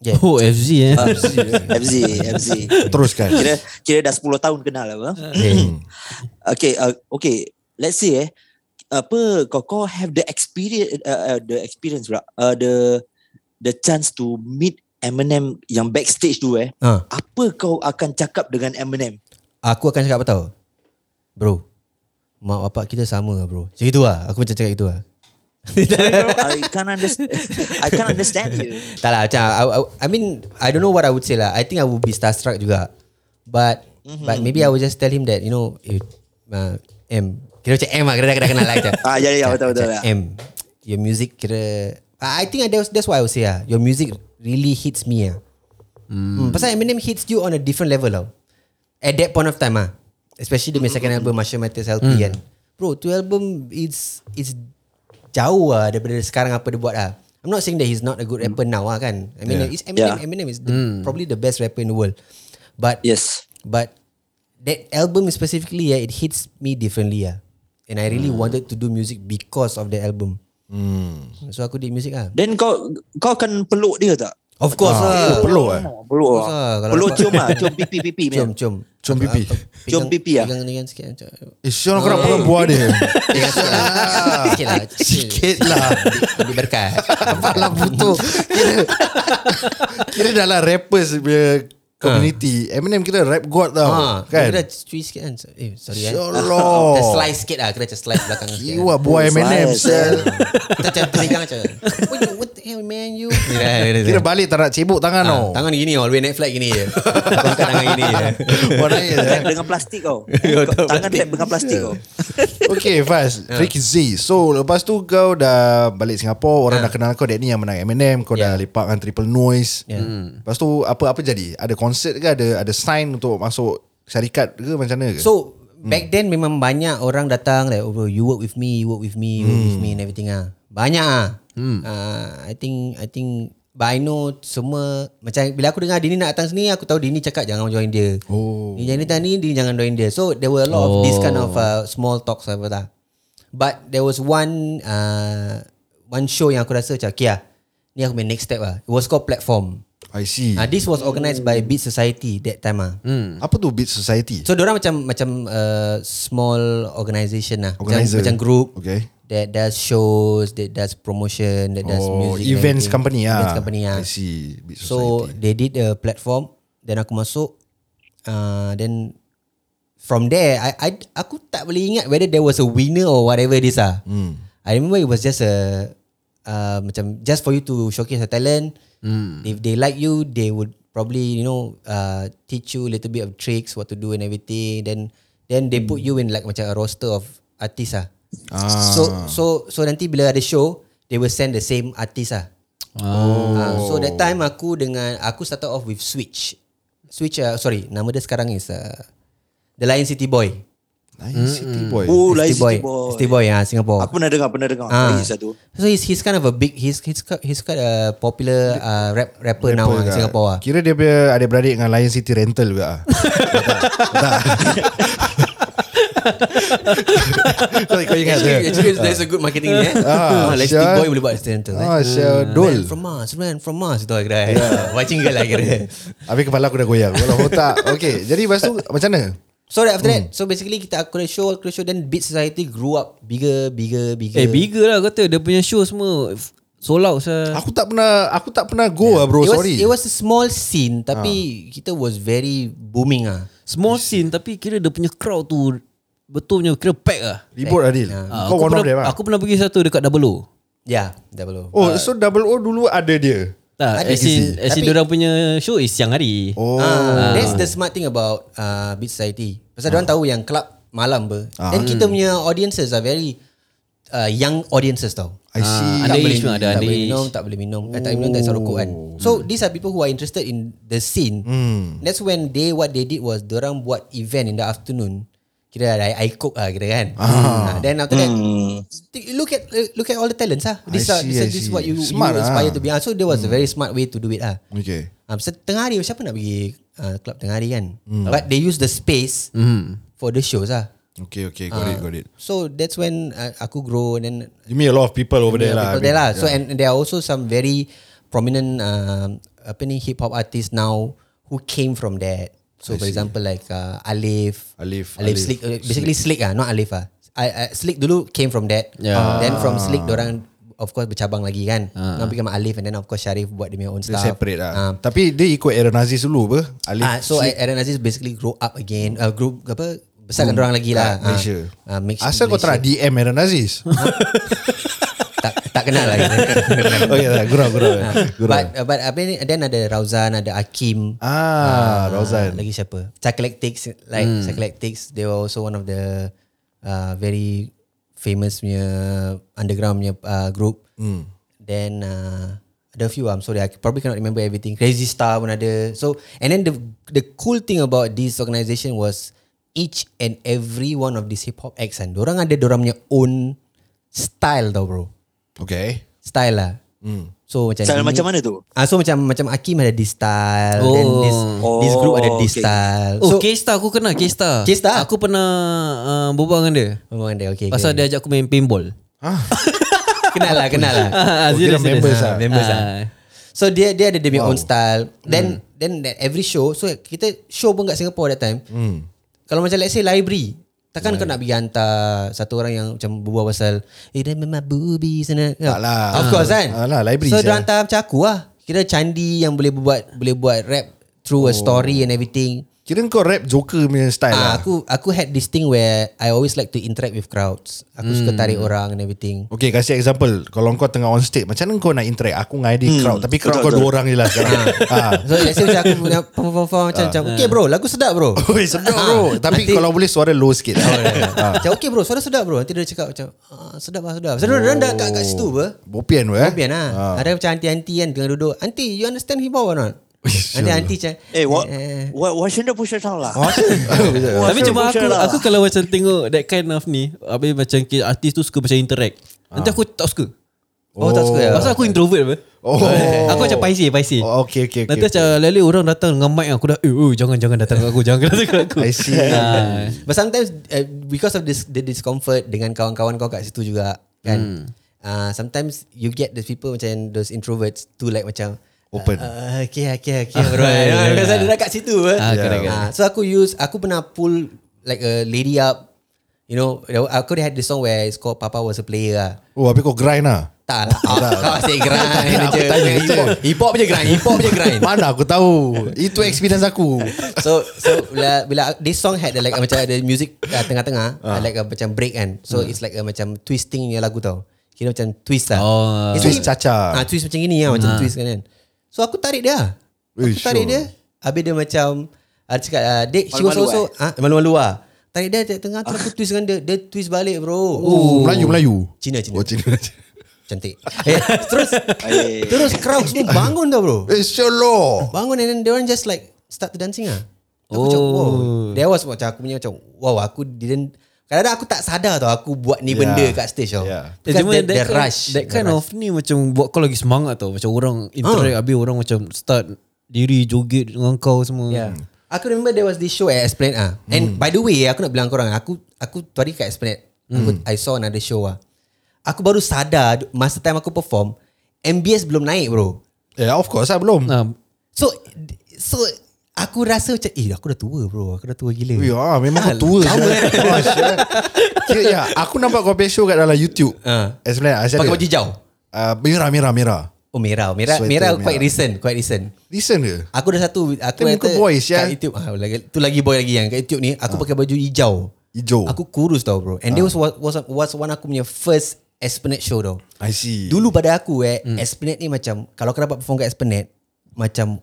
Speaker 7: yeah.
Speaker 2: Oh FZ eh
Speaker 7: Ah,
Speaker 3: FZ. FZ.
Speaker 4: Teruskan
Speaker 3: Kira, kira dah 10 tahun kenal lah. Apa?
Speaker 7: yeah.
Speaker 3: Okay, uh, okay. Let's say eh, apa kau kau have the experience, uh, uh, the experience pula, uh, the the chance to meet Eminem yang backstage tu eh.
Speaker 7: ha,
Speaker 3: Apa kau akan cakap dengan Eminem?
Speaker 7: aku akan cakap apa tau bro mak bapak kita sama lah bro macam itu lah aku macam cakap itu lah
Speaker 3: I can't understand. I can't understand you.
Speaker 7: tak lah macam I, I, I mean I don't know what I would say lah I think I would be starstruck juga but
Speaker 3: Mhm,
Speaker 7: mm-hmm. but maybe I would just tell him that you know eh, uh, M kira macam M lah kira dah kena kenal lah macam
Speaker 3: Ah, ya, ya, betul, betul,
Speaker 7: Macam
Speaker 3: betul.
Speaker 7: M your music kira I I think I- that's, that's what I would say lah your music really hits me lah mm. pasal Eminem hits you on a different level tau at that point of time ah especially the second album Marshall Mathers LP kan bro tu album it's it's jauh lah daripada sekarang apa dia buat lah. I'm not saying that he's not a good rapper now lah kan. I mean, yeah. it's Eminem.
Speaker 3: Yeah.
Speaker 7: Eminem is the, probably the best rapper in the world. But
Speaker 3: Yes.
Speaker 7: but that album specifically, yeah, it hits me differently lah. And I really wanted to do music because of the album. So aku did music lah.
Speaker 3: Then kau kau akan peluk dia tak?
Speaker 7: Of course
Speaker 4: Oh,
Speaker 7: lah.
Speaker 4: Perlu eh
Speaker 3: Oh, peluk
Speaker 7: Of course lah,
Speaker 3: lah.
Speaker 7: kalau
Speaker 3: Peluk
Speaker 7: sebab-
Speaker 3: cium lah. Cium pipi pipi.
Speaker 7: Cium,
Speaker 3: man.
Speaker 7: cium.
Speaker 4: Cium pipi.
Speaker 3: Cium pipi lah.
Speaker 7: Pegang dengan sikit. ah, macam-
Speaker 4: Eh Syurang korang pegang buah dia
Speaker 7: Pegang sikit lah. Oh. Sikit lah.
Speaker 4: Ah. Sikit lah
Speaker 7: Lebih berkat. Ha,
Speaker 4: Kepala butuh Kira Kira dah lah rappers punya community
Speaker 7: Ah.
Speaker 4: Eminem kira rap god tau
Speaker 7: Ha,
Speaker 4: kan
Speaker 7: kan? Kira cuci sikit kan Eh sorry eh
Speaker 4: Insyaallah.
Speaker 7: Kita slice sikit lah Kira macam slice belakang sikit
Speaker 4: Iwa buah Eminem sel.
Speaker 7: Kita macam terpegang macam What, you- what the hell man you
Speaker 4: Kira balik tak nak cebok tangan tau
Speaker 7: eh. Ah, Tangan gini all the way naik flight gini je Kau angkat tangan gini je
Speaker 4: Wah nangis eh.
Speaker 3: Tap dengan plastik kau Tangan tap dengan plastik kau
Speaker 4: Okay Faz
Speaker 7: Ah.
Speaker 4: Tricky Z So lepas tu kau dah Balik Singapura Orang dah kenal kau That ni yang menang Eminem Kau dah
Speaker 7: Ah. Yeah.
Speaker 4: lepak dengan Triple Noise
Speaker 7: Yeah.
Speaker 4: Lepas tu apa-apa jadi Ada konsert ke Ada ada sign untuk masuk Syarikat ke macam mana ke
Speaker 7: So back then memang banyak orang datang like oh bro you work with me you work with me you work with me and everything ah. Banyak ah. Ah, I think I think but I know semua macam bila aku dengar Dini nak datang sini aku tahu Dini cakap jangan join dia.
Speaker 4: Oh.
Speaker 7: Dini jangan datang ni Dini jangan join dia. So there were a lot of this kind of uh, small talks apa tak. But there was one uh, one show yang aku rasa macam okay lah. Ni aku main next step lah. It was called Platform.
Speaker 4: I see
Speaker 7: Ah, this was organised by Beat Society that time ah.
Speaker 4: Apa tu Beat Society
Speaker 7: So diorang macam macam uh, small organisation lah.
Speaker 4: Organizer.
Speaker 7: Macam, macam group.
Speaker 4: Okay.
Speaker 7: That does shows, that does promotion, that does
Speaker 4: Oh,
Speaker 7: music. and
Speaker 4: events
Speaker 7: everything.
Speaker 4: company ah.
Speaker 7: Events company ah.
Speaker 4: I see. Beat
Speaker 7: So
Speaker 4: Society.
Speaker 7: they did a platform. Then aku masuk. Uh, then from there, I, I aku tak boleh ingat whether there was a winner or whatever this ah. Mm. I remember it was just a uh, macam just for you to showcase your talent. Mm. If they like you, they would probably you know uh, teach you a little bit of tricks, what to do and everything. Then then they put you in like macam a roster of artists ah. So so so nanti bila ada show, they will send the same artist ah. Oh. so that time aku dengan aku started off with Switch. Switch uh, sorry, nama dia sekarang is uh, The Lion City Boy. mm,
Speaker 4: Nice City Boy
Speaker 3: Oh Lion
Speaker 7: City Boy.
Speaker 3: City Boy
Speaker 7: City Boy ah Singapore.
Speaker 3: Aku pernah dengar Pernah dengar
Speaker 7: Ah.
Speaker 3: Lagi satu
Speaker 7: So he's he's kind of a big he's he's got, he's got a popular uh, rap rapper, now
Speaker 4: Apa
Speaker 7: in
Speaker 4: kat-
Speaker 7: Singapore ah.
Speaker 4: Kira dia punya ada beradik dengan Lion City Rental juga ah. Tak. Tak. Kau ingat dia.
Speaker 7: there's a good marketing eh.
Speaker 4: Ah,
Speaker 7: Ah, like City
Speaker 4: sial.
Speaker 7: Boy boleh buat student tu.
Speaker 4: Ah,
Speaker 7: eh.
Speaker 4: sial
Speaker 7: Man
Speaker 4: dol.
Speaker 7: from Mars, man from Mars tu kira. Yeah. Watching girl lah kira.
Speaker 4: Habis kepala aku dah goyang. Kalau otak. Okay. Jadi lepas tu macam mana?
Speaker 7: So that after
Speaker 4: Hmm.
Speaker 7: that, so basically kita aku ada show, aku ada show then Beat Society grew up bigger, bigger, bigger.
Speaker 2: Eh bigger lah kata Dia punya show semua f- Sold out sah.
Speaker 4: Aku tak pernah aku tak pernah go ah bro.
Speaker 7: it was,
Speaker 4: Sorry. Ah.
Speaker 7: It was a small scene tapi kita was very booming ah.
Speaker 2: Small scene Tapi kira dia punya crowd tu Betul punya Kira pack lah
Speaker 4: Ribut Adil.
Speaker 2: Ah,
Speaker 4: Ya. Kau
Speaker 2: aku
Speaker 4: one of
Speaker 2: pernah,
Speaker 4: them ah.
Speaker 2: Aku pernah pergi satu Dekat Double O
Speaker 7: Yeah, double O.
Speaker 4: Oh, so double O dulu ada dia.
Speaker 2: Tak, as in, as in
Speaker 7: Tapi-
Speaker 2: diorang punya show is siang hari.
Speaker 4: Oh.
Speaker 7: Ah, that's the smart thing about uh, Beat Society. Pasal
Speaker 4: Ah.
Speaker 7: orang tahu yang club malam ber. Then kita punya audiences are very uh, young audiences tau.
Speaker 4: I see.
Speaker 2: Ah,
Speaker 7: tak boleh,
Speaker 2: Underage pun ada,
Speaker 7: tak boleh
Speaker 2: underage.
Speaker 7: minum, tak boleh minum, eh, tak boleh minum, tak boleh rokok kan.
Speaker 4: Oh.
Speaker 7: So these are people who are interested in the scene.
Speaker 4: Hmm.
Speaker 7: That's when they what they did was orang buat event in the afternoon. Kira ada I cook ah kira kan. Ah. Then after that t- look at look at all the talents ah. This
Speaker 4: I
Speaker 7: are,
Speaker 4: see,
Speaker 7: this, are,
Speaker 4: I
Speaker 7: this is
Speaker 4: see.
Speaker 7: what you, you
Speaker 4: Smart Hmm. ah.
Speaker 7: aspire to be. Ah. So there was a very smart way to do it ah.
Speaker 4: Okay.
Speaker 7: Ah, pasal tengah hari siapa nak pergi uh, club tengah hari kan?
Speaker 4: Hmm.
Speaker 7: But they use the space for the shows ah.
Speaker 4: Okay, okay. Got it, got it.
Speaker 7: So that's when uh, aku grow and then
Speaker 4: You meet a lot of people over there
Speaker 7: people
Speaker 4: lah. I
Speaker 7: there
Speaker 4: mean.
Speaker 7: lah. So and there are also some very prominent um, apa ni hip hop artists now who came from that. So for example like uh, Alif,
Speaker 4: Alif,
Speaker 7: Alif,
Speaker 4: Alif.
Speaker 7: Slick, uh, basically Slick ah, not Alif ah. I, I, Slick dulu came from that.
Speaker 2: Yeah.
Speaker 7: Then from Slick, orang of course bercabang lagi kan. Uh. Now become Alif and then of course Sharif buat dia punya
Speaker 4: Ah,
Speaker 7: own
Speaker 4: Dia
Speaker 7: stuff.
Speaker 4: separate lah.
Speaker 7: Ah,
Speaker 4: Tapi dia ikut Aaron Aziz dulu apa? Alif.
Speaker 7: Ah, so
Speaker 4: Slick.
Speaker 7: Aaron Aziz basically grow up again. Uh, grow apa besarkan orang lagi lah.
Speaker 4: kat Malaysia.
Speaker 7: Ah, ah, make-
Speaker 4: Asal kau tak
Speaker 7: Malaysia.
Speaker 4: nak DM Aaron Aziz?
Speaker 7: tak tak kenal lah.
Speaker 4: okay, tak, Oh, ya, gurau, gurau. gurau.
Speaker 7: but uh, but apa ni? Then ada Rauzan, ada Akim.
Speaker 4: ah, Hmm. Rozan.
Speaker 7: Lagi siapa? Psycholactics, like mm. Psycholactics, they were also one of the uh, very famous punya underground punya uh, group. Mm.
Speaker 4: Hmm.
Speaker 7: Then uh, ada few. I'm sorry, I probably cannot remember everything. Crazy Star pun ada. So and then the the cool thing about this organisation was each and every one of these hip hop acts kan, orang ada orang punya own style tau bro.
Speaker 4: Okay.
Speaker 7: Style lah.
Speaker 4: Hmm.
Speaker 7: Mm. So macam
Speaker 3: Style
Speaker 7: ni-
Speaker 3: macam mana tu
Speaker 7: Ah, so macam macam Akim ada this style, oh.
Speaker 2: Oh.
Speaker 7: then this this group ada this
Speaker 3: okay.
Speaker 7: style.
Speaker 2: Oh, so,
Speaker 7: so,
Speaker 2: K-Star aku kenal K-Star.
Speaker 7: K-Star?
Speaker 2: Aku pernah uh, berbual dengan dia.
Speaker 7: Memang Oh, ada okay.
Speaker 2: Pasal dia ajak aku main paintball.
Speaker 7: kenal lah, kenal lah.
Speaker 2: Ah, ah,
Speaker 4: kira
Speaker 2: serious, serious.
Speaker 4: members
Speaker 2: Ah,
Speaker 4: ah.
Speaker 2: Members ah.
Speaker 7: So dia dia ada dia punya own style. Then then that every show, so kita show pun kat Singapore that time. Kalau macam let's say library, takkan kau nak pergi hantar satu orang yang macam berbual pasal eh then my boobies and
Speaker 4: Tak lah.
Speaker 7: Of course kan.
Speaker 4: Ah lah, library
Speaker 7: So
Speaker 4: sia.
Speaker 7: dia hantar macam aku lah. Kira candi yang boleh buat boleh buat rap through a story and everything.
Speaker 4: Kira kau rap Joker punya style
Speaker 7: Ah,
Speaker 4: lah.
Speaker 7: aku aku had this thing where I always like to interact with crowds. Aku suka
Speaker 4: Hmm.
Speaker 7: tarik orang and everything.
Speaker 4: Okay kasih example Kalau kau tengah on stage Macam mana kau nak interact Aku dengan
Speaker 2: Hmm,
Speaker 4: ID crowd Tapi crowd
Speaker 3: Betul,
Speaker 4: kau
Speaker 3: betul.
Speaker 4: dua orang je lah sekarang ah.
Speaker 7: So let's say macam aku punya perform macam, macam okay bro lagu sedap bro.
Speaker 4: Oi, sedap bro Tapi
Speaker 7: Ah, Nanti-
Speaker 4: kalau boleh suara low sikit ah.
Speaker 7: Macam okay bro suara sedap bro. Nanti dia cakap macam ah, sedap lah sedap. Sedap orang dah kat, kat
Speaker 4: Oh.
Speaker 7: situ apa?
Speaker 4: Bopian pun eh
Speaker 7: Bobian lah. Ada macam aunty-aunty kan tengah duduk. Aunty you understand hip hop or not? Nanti aunty macam
Speaker 3: Eh, what,
Speaker 7: eh,
Speaker 3: what, what shouldn't push it down lah.
Speaker 2: Tapi cuma aku aku kalau macam tengok that kind of ni, habis macam ki- artis tu suka macam interact. Nanti aku tak suka.
Speaker 7: Oh, tak suka ya?
Speaker 2: Pasal aku introvert apa.
Speaker 4: Oh.
Speaker 2: Aku macam paisi, paisi.
Speaker 4: Oh, okay, okay, okay,
Speaker 2: Nanti macam lalu orang datang dengan mic aku dah, eh, oh, jangan jangan datang kat aku, jangan datang kat aku.
Speaker 4: I see
Speaker 2: Ah.
Speaker 7: But sometimes uh, because of this the discomfort dengan kawan-kawan kau kat situ juga kan. Uh, sometimes you get those people macam those introverts to like macam
Speaker 4: Open.
Speaker 7: Uh, uh, okay, okay, okay, bro.
Speaker 2: Ah, yeah,
Speaker 7: yeah,
Speaker 2: yeah.
Speaker 7: Because dia dah kat situ. eh.
Speaker 2: Ah, correct,
Speaker 7: Ah,
Speaker 2: correct.
Speaker 7: So aku use aku pernah pull like a lady up. You know, aku dah had this song where it's called Papa Was a Player lah.
Speaker 4: Oh habis kau grind lah
Speaker 7: Tak lah. Kau asyik grind
Speaker 4: Aku
Speaker 7: je.
Speaker 4: tanya je.
Speaker 7: Hip-hop- Hip-hop je grind. Hip-hop je grind.
Speaker 4: Mana aku tahu Itu experience aku
Speaker 7: So so bila bila this song had the, like macam ada music uh, tengah-tengah
Speaker 4: Ah.
Speaker 7: uh. like uh, macam break kan. So
Speaker 4: Hmm.
Speaker 7: it's like uh, macam twisting punya lagu tau. Kira macam twist lah.
Speaker 2: Oh.
Speaker 7: It's
Speaker 4: Twist
Speaker 7: like-
Speaker 4: caca.
Speaker 7: Ah twist macam gini lah macam twist kan kan. So aku tarik dia. lah.
Speaker 4: Eh,
Speaker 7: Aku tarik
Speaker 4: sure.
Speaker 7: dia. Habis dia macam ada cakap uh, dia she was
Speaker 3: Malu-malu
Speaker 7: also ah malu-malu ah. Tarik dia dekat tengah terus aku twist dengan dia. Dia twist balik bro. Oh.
Speaker 4: Melayu Melayu
Speaker 7: Cina Cina.
Speaker 4: Oh Cina
Speaker 7: Cantik. Eh, terus
Speaker 3: Eh.
Speaker 7: terus crowd semua bangun tau bro.
Speaker 4: Eh sure low
Speaker 7: Bangun and then they orang just like start to dancing ah. Aku oh. macam wow. That was macam aku punya macam wow aku didn't kadang-kadang aku tak sadar tau aku buat ni
Speaker 4: Yeah.
Speaker 7: yeah. benda kat stage tau.
Speaker 4: Yeah.
Speaker 7: Yeah.
Speaker 2: Eh,
Speaker 7: Because
Speaker 2: cuma
Speaker 7: that,
Speaker 2: that,
Speaker 7: that,
Speaker 2: kind-
Speaker 7: rush.
Speaker 2: That kind of ni Macam buat kau lagi semangat tau Macam orang
Speaker 4: Ah.
Speaker 2: interact Habis orang macam Start diri joget Dengan kau semua
Speaker 7: Yeah. Aku remember there was this show at Esplanade ah.
Speaker 4: Hmm.
Speaker 7: And by the way aku nak bilang korang aku aku tu hari kat Esplanade. Aku
Speaker 4: Hmm.
Speaker 7: I saw another show ah. Aku baru sadar masa time aku perform MBS belum naik bro.
Speaker 4: Yeah of course lah belum
Speaker 7: Ah.
Speaker 2: nah,
Speaker 7: So so aku rasa macam eh aku dah tua bro. Aku dah tua gila.
Speaker 4: Ya, ah, memang kau tua Sama
Speaker 7: eh.
Speaker 4: Kira, ya, aku nampak kau punya show kat dalam YouTube.
Speaker 7: Ah.
Speaker 4: Uh. Sebenarnya, saya
Speaker 7: Pakai baju hijau.
Speaker 4: Uh, merah, merah, merah.
Speaker 7: Oh merah, merah,
Speaker 4: Sweater
Speaker 7: merah
Speaker 4: merah.
Speaker 7: quite recent, quite recent.
Speaker 4: Listen ke?
Speaker 7: Aku ada satu aku
Speaker 4: Tapi muka boys, ya.
Speaker 7: kat YouTube ah lagi tu lagi boy lagi yang kat YouTube ni aku pakai baju hijau.
Speaker 4: Hijau.
Speaker 7: Aku kurus tau bro. And ah. that was was was one aku punya first Esplanade show tau.
Speaker 4: I see.
Speaker 7: Dulu pada aku eh hmm. Esplanade ni macam kalau kau dapat perform kat Esplanade macam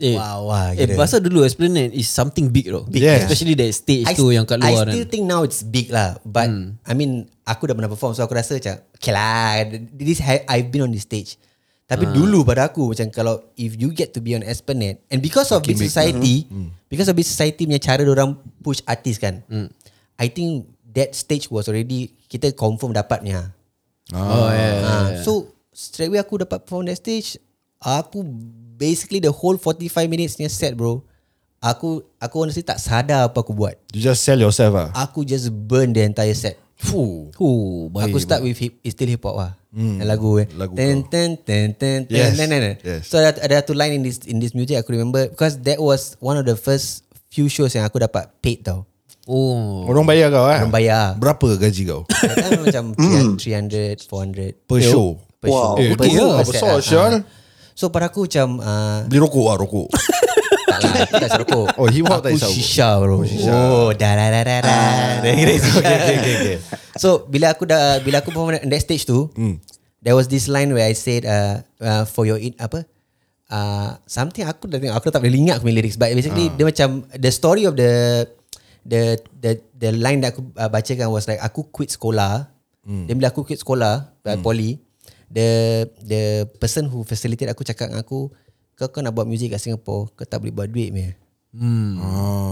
Speaker 2: Eh,
Speaker 7: wow wah
Speaker 2: Eh
Speaker 7: kira.
Speaker 2: pasal dulu Esplanade is something big tau
Speaker 4: Big, Yes.
Speaker 2: Especially that stage
Speaker 7: I
Speaker 2: tu
Speaker 7: st-
Speaker 2: Yang kat
Speaker 7: I
Speaker 2: luar kan
Speaker 7: still
Speaker 2: Hmm.
Speaker 7: think now it's big lah But I mean Aku dah pernah perform So aku rasa macam Okay lah this, ha- I've been on this stage Tapi
Speaker 2: Ah.
Speaker 7: dulu pada aku Macam kalau If you get to be on Esplanade And because of Big Society Because of Big Society punya cara orang push artis kan
Speaker 2: Hmm.
Speaker 7: I think That stage was already Kita confirm dapatnya
Speaker 2: Oh yeah
Speaker 7: Ah, So Straight away aku dapat perform that stage Aku Basically the whole 45 minutes ni set bro Aku Aku honestly tak sadar apa aku buat
Speaker 4: You just sell yourself ah.
Speaker 7: Aku just burn the entire set.
Speaker 4: Fuh.
Speaker 2: Oh,
Speaker 7: Baik, aku
Speaker 2: baik.
Speaker 7: start with hip, it's still hip hop lah. Mm, lagu eh.
Speaker 4: Hmm. lagu
Speaker 7: ten, ten, ten, ten, ten,
Speaker 4: Yes,
Speaker 7: ten, ten, ten.
Speaker 4: yes.
Speaker 7: So ada, ada satu line in this in this music aku remember because that was one of the first few shows yang aku dapat paid tau.
Speaker 2: Oh
Speaker 4: Orang bayar kau eh?
Speaker 7: Orang bayar.
Speaker 4: Berapa gaji kau?
Speaker 7: That time macam 300, 400
Speaker 4: Hmm. Per show.
Speaker 7: per
Speaker 3: Wow.
Speaker 7: show.
Speaker 4: Eh,
Speaker 7: Per
Speaker 4: okay
Speaker 7: show,
Speaker 4: lah.
Speaker 7: per set
Speaker 4: Besar,
Speaker 7: oh, lah.
Speaker 4: Syal.
Speaker 7: So pada aku macam uh,
Speaker 4: Beli rokok ah, rokok.
Speaker 7: tak lah, aku tak serokok.
Speaker 4: Oh, hip hop tak
Speaker 7: Aku
Speaker 4: hisap rokok.
Speaker 7: shisha bro. Oh, oh dah dah dah dah dah.
Speaker 4: Ah.
Speaker 7: Okay, okay, okay, okay. So bila aku dah bila aku perform on that stage tu, mm. there was this line where I said uh, uh for your in apa uh, something aku dah tengok aku dah tak boleh ingat aku punya lyrics but basically uh. dia macam the story of the the the the line that aku uh, bacakan was like aku quit sekolah. Mm. Then bila aku quit sekolah, mm. poly, the the person who facilitate aku cakap dengan aku kau kau nak buat music kat Singapore, kau tak boleh buat duit meh.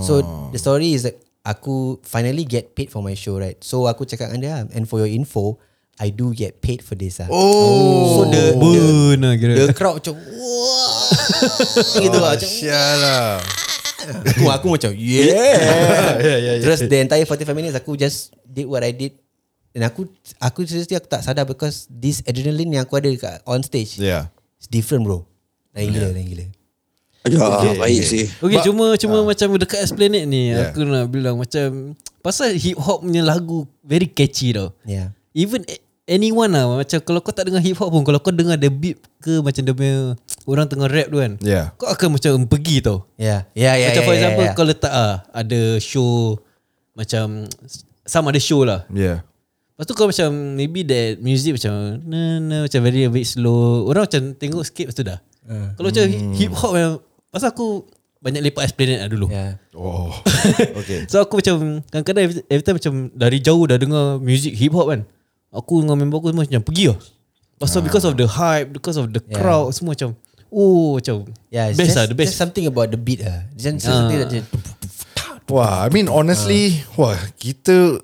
Speaker 7: So the story is that aku finally get paid for my show right. So aku cakap dengan dia "Ah, and for your info I do get paid for this ah.
Speaker 4: Oh.
Speaker 7: So the the,
Speaker 2: Burn lah
Speaker 7: the
Speaker 2: kira
Speaker 7: crowd macam wah gitu lah macam
Speaker 4: Syal Oh, lah.
Speaker 7: aku, aku macam yeah.
Speaker 4: Ya, ya, ya.
Speaker 7: "Ah." Terus the entire 45 minutes aku just did what I did dan aku aku seriously aku tak sadar because this adrenaline yang aku ada kat on stage
Speaker 4: Yeah.
Speaker 7: it's different bro. Lain gila, lain gila.
Speaker 3: Ya, baik sih.
Speaker 2: Okay cuma Cuma macam dekat Esplanade ni
Speaker 4: Ah. Yeah.
Speaker 2: Aku nak bilang macam Pasal hip hop punya lagu Very catchy tau
Speaker 7: Yeah.
Speaker 2: Even a- anyone lah Macam kalau kau tak dengar hip hop pun Kalau kau dengar the beat ke Macam dia punya orang tengah rap tu kan.
Speaker 4: Yeah.
Speaker 2: Kau akan macam pergi tau.
Speaker 7: Yeah. Yeah,
Speaker 2: macam
Speaker 7: yeah, yeah,
Speaker 2: for
Speaker 7: yeah,
Speaker 2: example
Speaker 7: yeah.
Speaker 2: kau letak ah ada show macam sama ada show lah.
Speaker 4: Yeah.
Speaker 2: Lepas tu kau macam maybe that music macam na, na, macam very a bit slow. Orang macam tengok sikit lepas tu dah.
Speaker 7: Ah,
Speaker 2: Uh, Kalau macam
Speaker 7: hmm.
Speaker 2: hip hop yang pasal aku banyak lepak explanate lah dulu. Yeah.
Speaker 7: Yeah.
Speaker 4: Oh. okay.
Speaker 2: So aku macam kadang-kadang every- every time macam dari jauh dah dengar music hip hop kan. Aku dengan member aku semua macam pergi lah.
Speaker 7: Ah.
Speaker 2: Pasal uh. because of the hype, because of the
Speaker 7: Yeah.
Speaker 2: crowd semua macam oh macam
Speaker 7: Yeah,
Speaker 2: yeah,
Speaker 7: it's
Speaker 2: best
Speaker 7: Ya. just,
Speaker 2: lah the best. Ah.
Speaker 7: Just something about the beat lah. Just something that just,
Speaker 4: Wah, I mean honestly, wah kita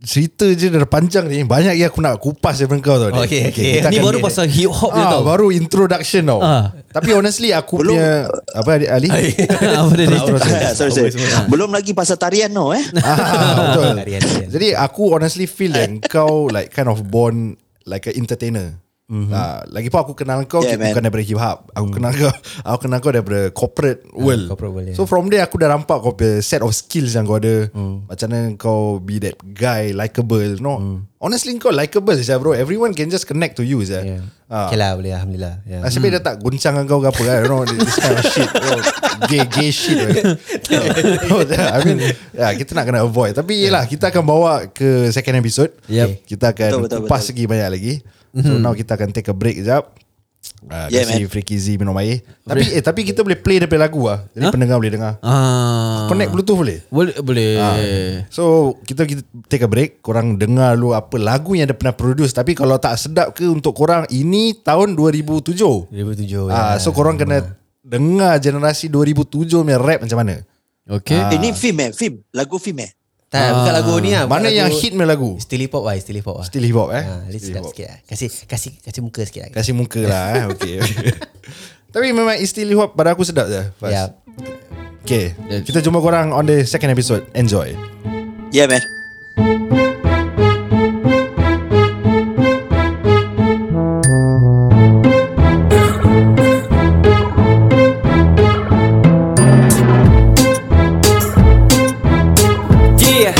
Speaker 4: cerita je dah panjang ni. Banyak yang aku nak kupas daripada kau tau. Din.
Speaker 7: Okay, okay.
Speaker 4: kita
Speaker 2: Ni
Speaker 4: akan-
Speaker 2: baru pasal hip hop je
Speaker 4: Ah,
Speaker 2: tau.
Speaker 4: baru introduction tau.
Speaker 2: Ah.
Speaker 4: Tapi honestly aku
Speaker 3: Belum-
Speaker 4: punya apa Ali?
Speaker 2: Apa dia ni?
Speaker 3: sorry, sorry. Belum lagi pasal tarian no eh.
Speaker 4: ah, betul.
Speaker 7: Tarian, tarian.
Speaker 4: Jadi aku honestly feel that kau like kind of born like an entertainer.
Speaker 7: Mhm.
Speaker 4: Mm-hmm. Ah, lagi pun aku kenal kau
Speaker 3: Yeah,
Speaker 4: yeah,
Speaker 3: man.
Speaker 4: bukan daripada hip hop. Aku kenal kau, aku kenal kau daripada corporate world.
Speaker 7: Mm. Ah, corporate world, yeah.
Speaker 4: So from there aku dah nampak kau punya set of skills yang kau ada.
Speaker 7: Mm.
Speaker 4: Macam mana kau be that guy likable. No. Honestly kau likable saja bro. Everyone can just connect to you saja. Yeah.
Speaker 7: yeah.
Speaker 4: Ah.
Speaker 7: Okay lah, boleh. Alhamdulillah. Yeah.
Speaker 4: Nasib baik dia tak guncang dengan kau ke apa kan You know This kind of shit you know, Gay gay shit right? No, I mean yeah, Kita nak kena avoid Tapi yelah Kita akan bawa ke second episode
Speaker 2: Yep. Mm-hmm.
Speaker 4: Kita akan
Speaker 3: Betul, betul,
Speaker 4: kupas
Speaker 3: betul.
Speaker 4: lagi banyak lagi So now kita akan take a break sekejap Uh, yeah,
Speaker 3: Yeah,
Speaker 4: kasi
Speaker 3: man.
Speaker 4: Freaky Z minum air Tapi eh, tapi kita boleh play daripada lagu lah Jadi
Speaker 2: Huh?
Speaker 4: pendengar boleh dengar
Speaker 2: Ah.
Speaker 4: Connect bluetooth boleh
Speaker 2: Boleh boleh.
Speaker 4: So kita, kita take a break Korang dengar dulu apa lagu yang dia pernah produce Tapi kalau tak sedap ke untuk korang Ini tahun 2007
Speaker 7: 2007.
Speaker 4: Ah, so korang kena dengar generasi 2007 punya rap macam mana.
Speaker 2: Okay.
Speaker 3: Ini film eh, film. Lagu film eh.
Speaker 7: Tak,
Speaker 2: Ah.
Speaker 7: bukan lagu ni lah. bukan
Speaker 4: Mana
Speaker 7: lagu-
Speaker 4: yang hit punya lagu?
Speaker 7: Still hip hop lah, still hip hop lah.
Speaker 4: Still hip hop eh.
Speaker 7: Ha, at
Speaker 4: Still
Speaker 7: least sedap
Speaker 4: hip hop.
Speaker 7: sikit lah. Kasih, kasih, kasih muka sikit lah.
Speaker 4: Kasih muka lah eh. Okay. Tapi memang it's still hip hop pada aku sedap je. Faz.
Speaker 7: Yeah.
Speaker 4: Okay. Kita jumpa korang on the second episode. Enjoy.
Speaker 3: Yeah man.
Speaker 8: Yeah,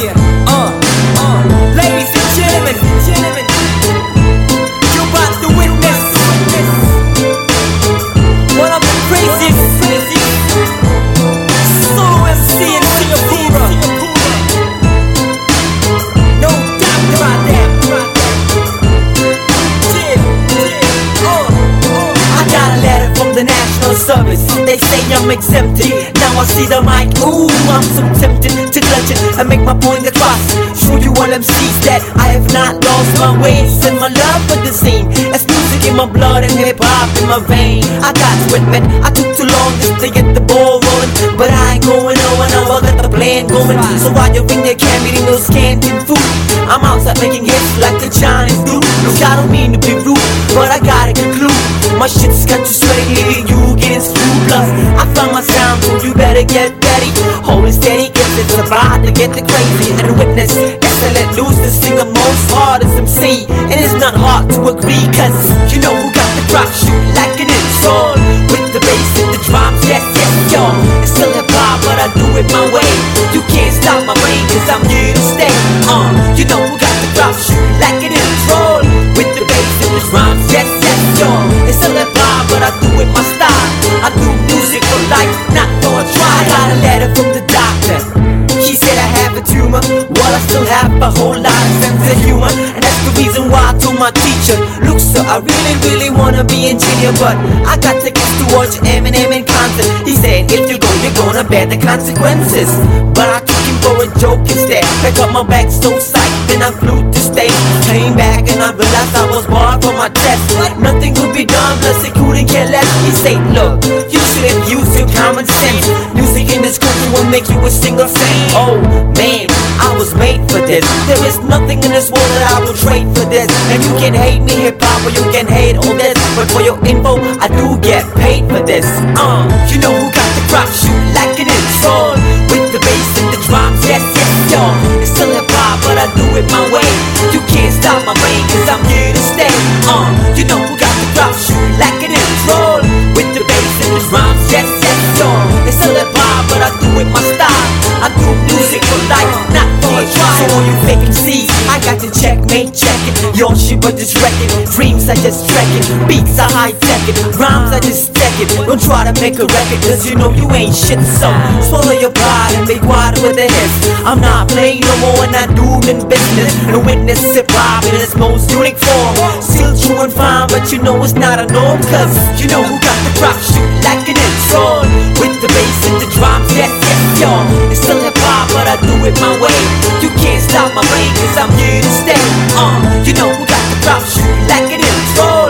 Speaker 8: yeah, uh, uh. Ladies and gentlemen, gentlemen, you're about to witness one of the craziest solo MC in Singapore. No doubt about that. Yeah, yeah, uh, uh. I got a letter from the National Service. They say I'm exempted. Now I see the mic. Ooh, I'm so tempted to clutch it and make my point across. Show you all MCs that I have not lost my ways and my love for the scene. It's music in my blood and hip hop in my vein. I got to admit, I took too long just to get the ball rolling. But I ain't going nowhere now. I got the plan going. So while you're in there, can't eating no scanting food. I'm outside making hits like the Chinese do. Look, I don't mean to be rude, but I gotta conclude. My shit's got you sweating, leaving you getting screwed. Plus, I found my sound, so you better get ready. Hold it steady, cause it's about to get the crazy. And the witness, yes, I let loose to sing the most hardest MC. And it's not hard to agree, cause you know who got the drop shoot like an insult. With the bass and the drums, yes, yes, yo. It's still hip hop, but I do it my way. You can't stop my brain, cause I'm here to stay. Uh, you know who got the drop shoot like an insult. With the bass and the drums, yes, yes, yo. It's still hip hop, but I do it my style. I do music for life, not for a try. I got a letter from the doctor. She said I have a tumor. Well, I still have a whole lot of sense of humor. And that's the reason why I told my teacher, Look, sir, I really, really wanna be engineer, but I got the kids to watch Eminem in concert. He said, If you go, you're gonna bear the consequences. But I took him for a joke instead. Back up my back so psyched, then I flew to state. Came back and I realized I was barred from my test. Nothing could be done, plus it couldn't care less. He said, Look, you should have used your common sense. Music in this country will make you a single saint. Oh man, I was made for this. There is nothing in this world that I will trade for this. And you can hate me hip hop or you can hate all this. But for your info, I do get paid for this. Uh, you know who got the crop shoot like an insult. With the bass and the drums, yes, yes, yo. It's still hip hop, but I do it my way. You can't stop my brain, cause I'm here to stay. Uh, you know who got the crop shoot like an insult. With the bass and the drums, yes, yes, yo. It's still hip hop, but I do it my style. I do music for life, not for a try. So all you fake MCs, I got to check me ain't checking. Your shit, but this record. Dreams, I just track it. Beats, I high tech it. Rhymes, I just stack it. Don't try to make a record, cause you know you ain't shit. So swallow your pride and be quiet with the hiss. I'm not playing no more, and I do in business. The witness it rob in its most unique form. Still true and fine, but you know it's not a norm, cause you know who got the drop shoot like an it's on. With the bass and the drums, yes, yes, y'all. It's still hip hop, but I do it my way. You can't stop my brain, cause I'm here to stay. Uh, you know who got the drop shoot like an it's on. e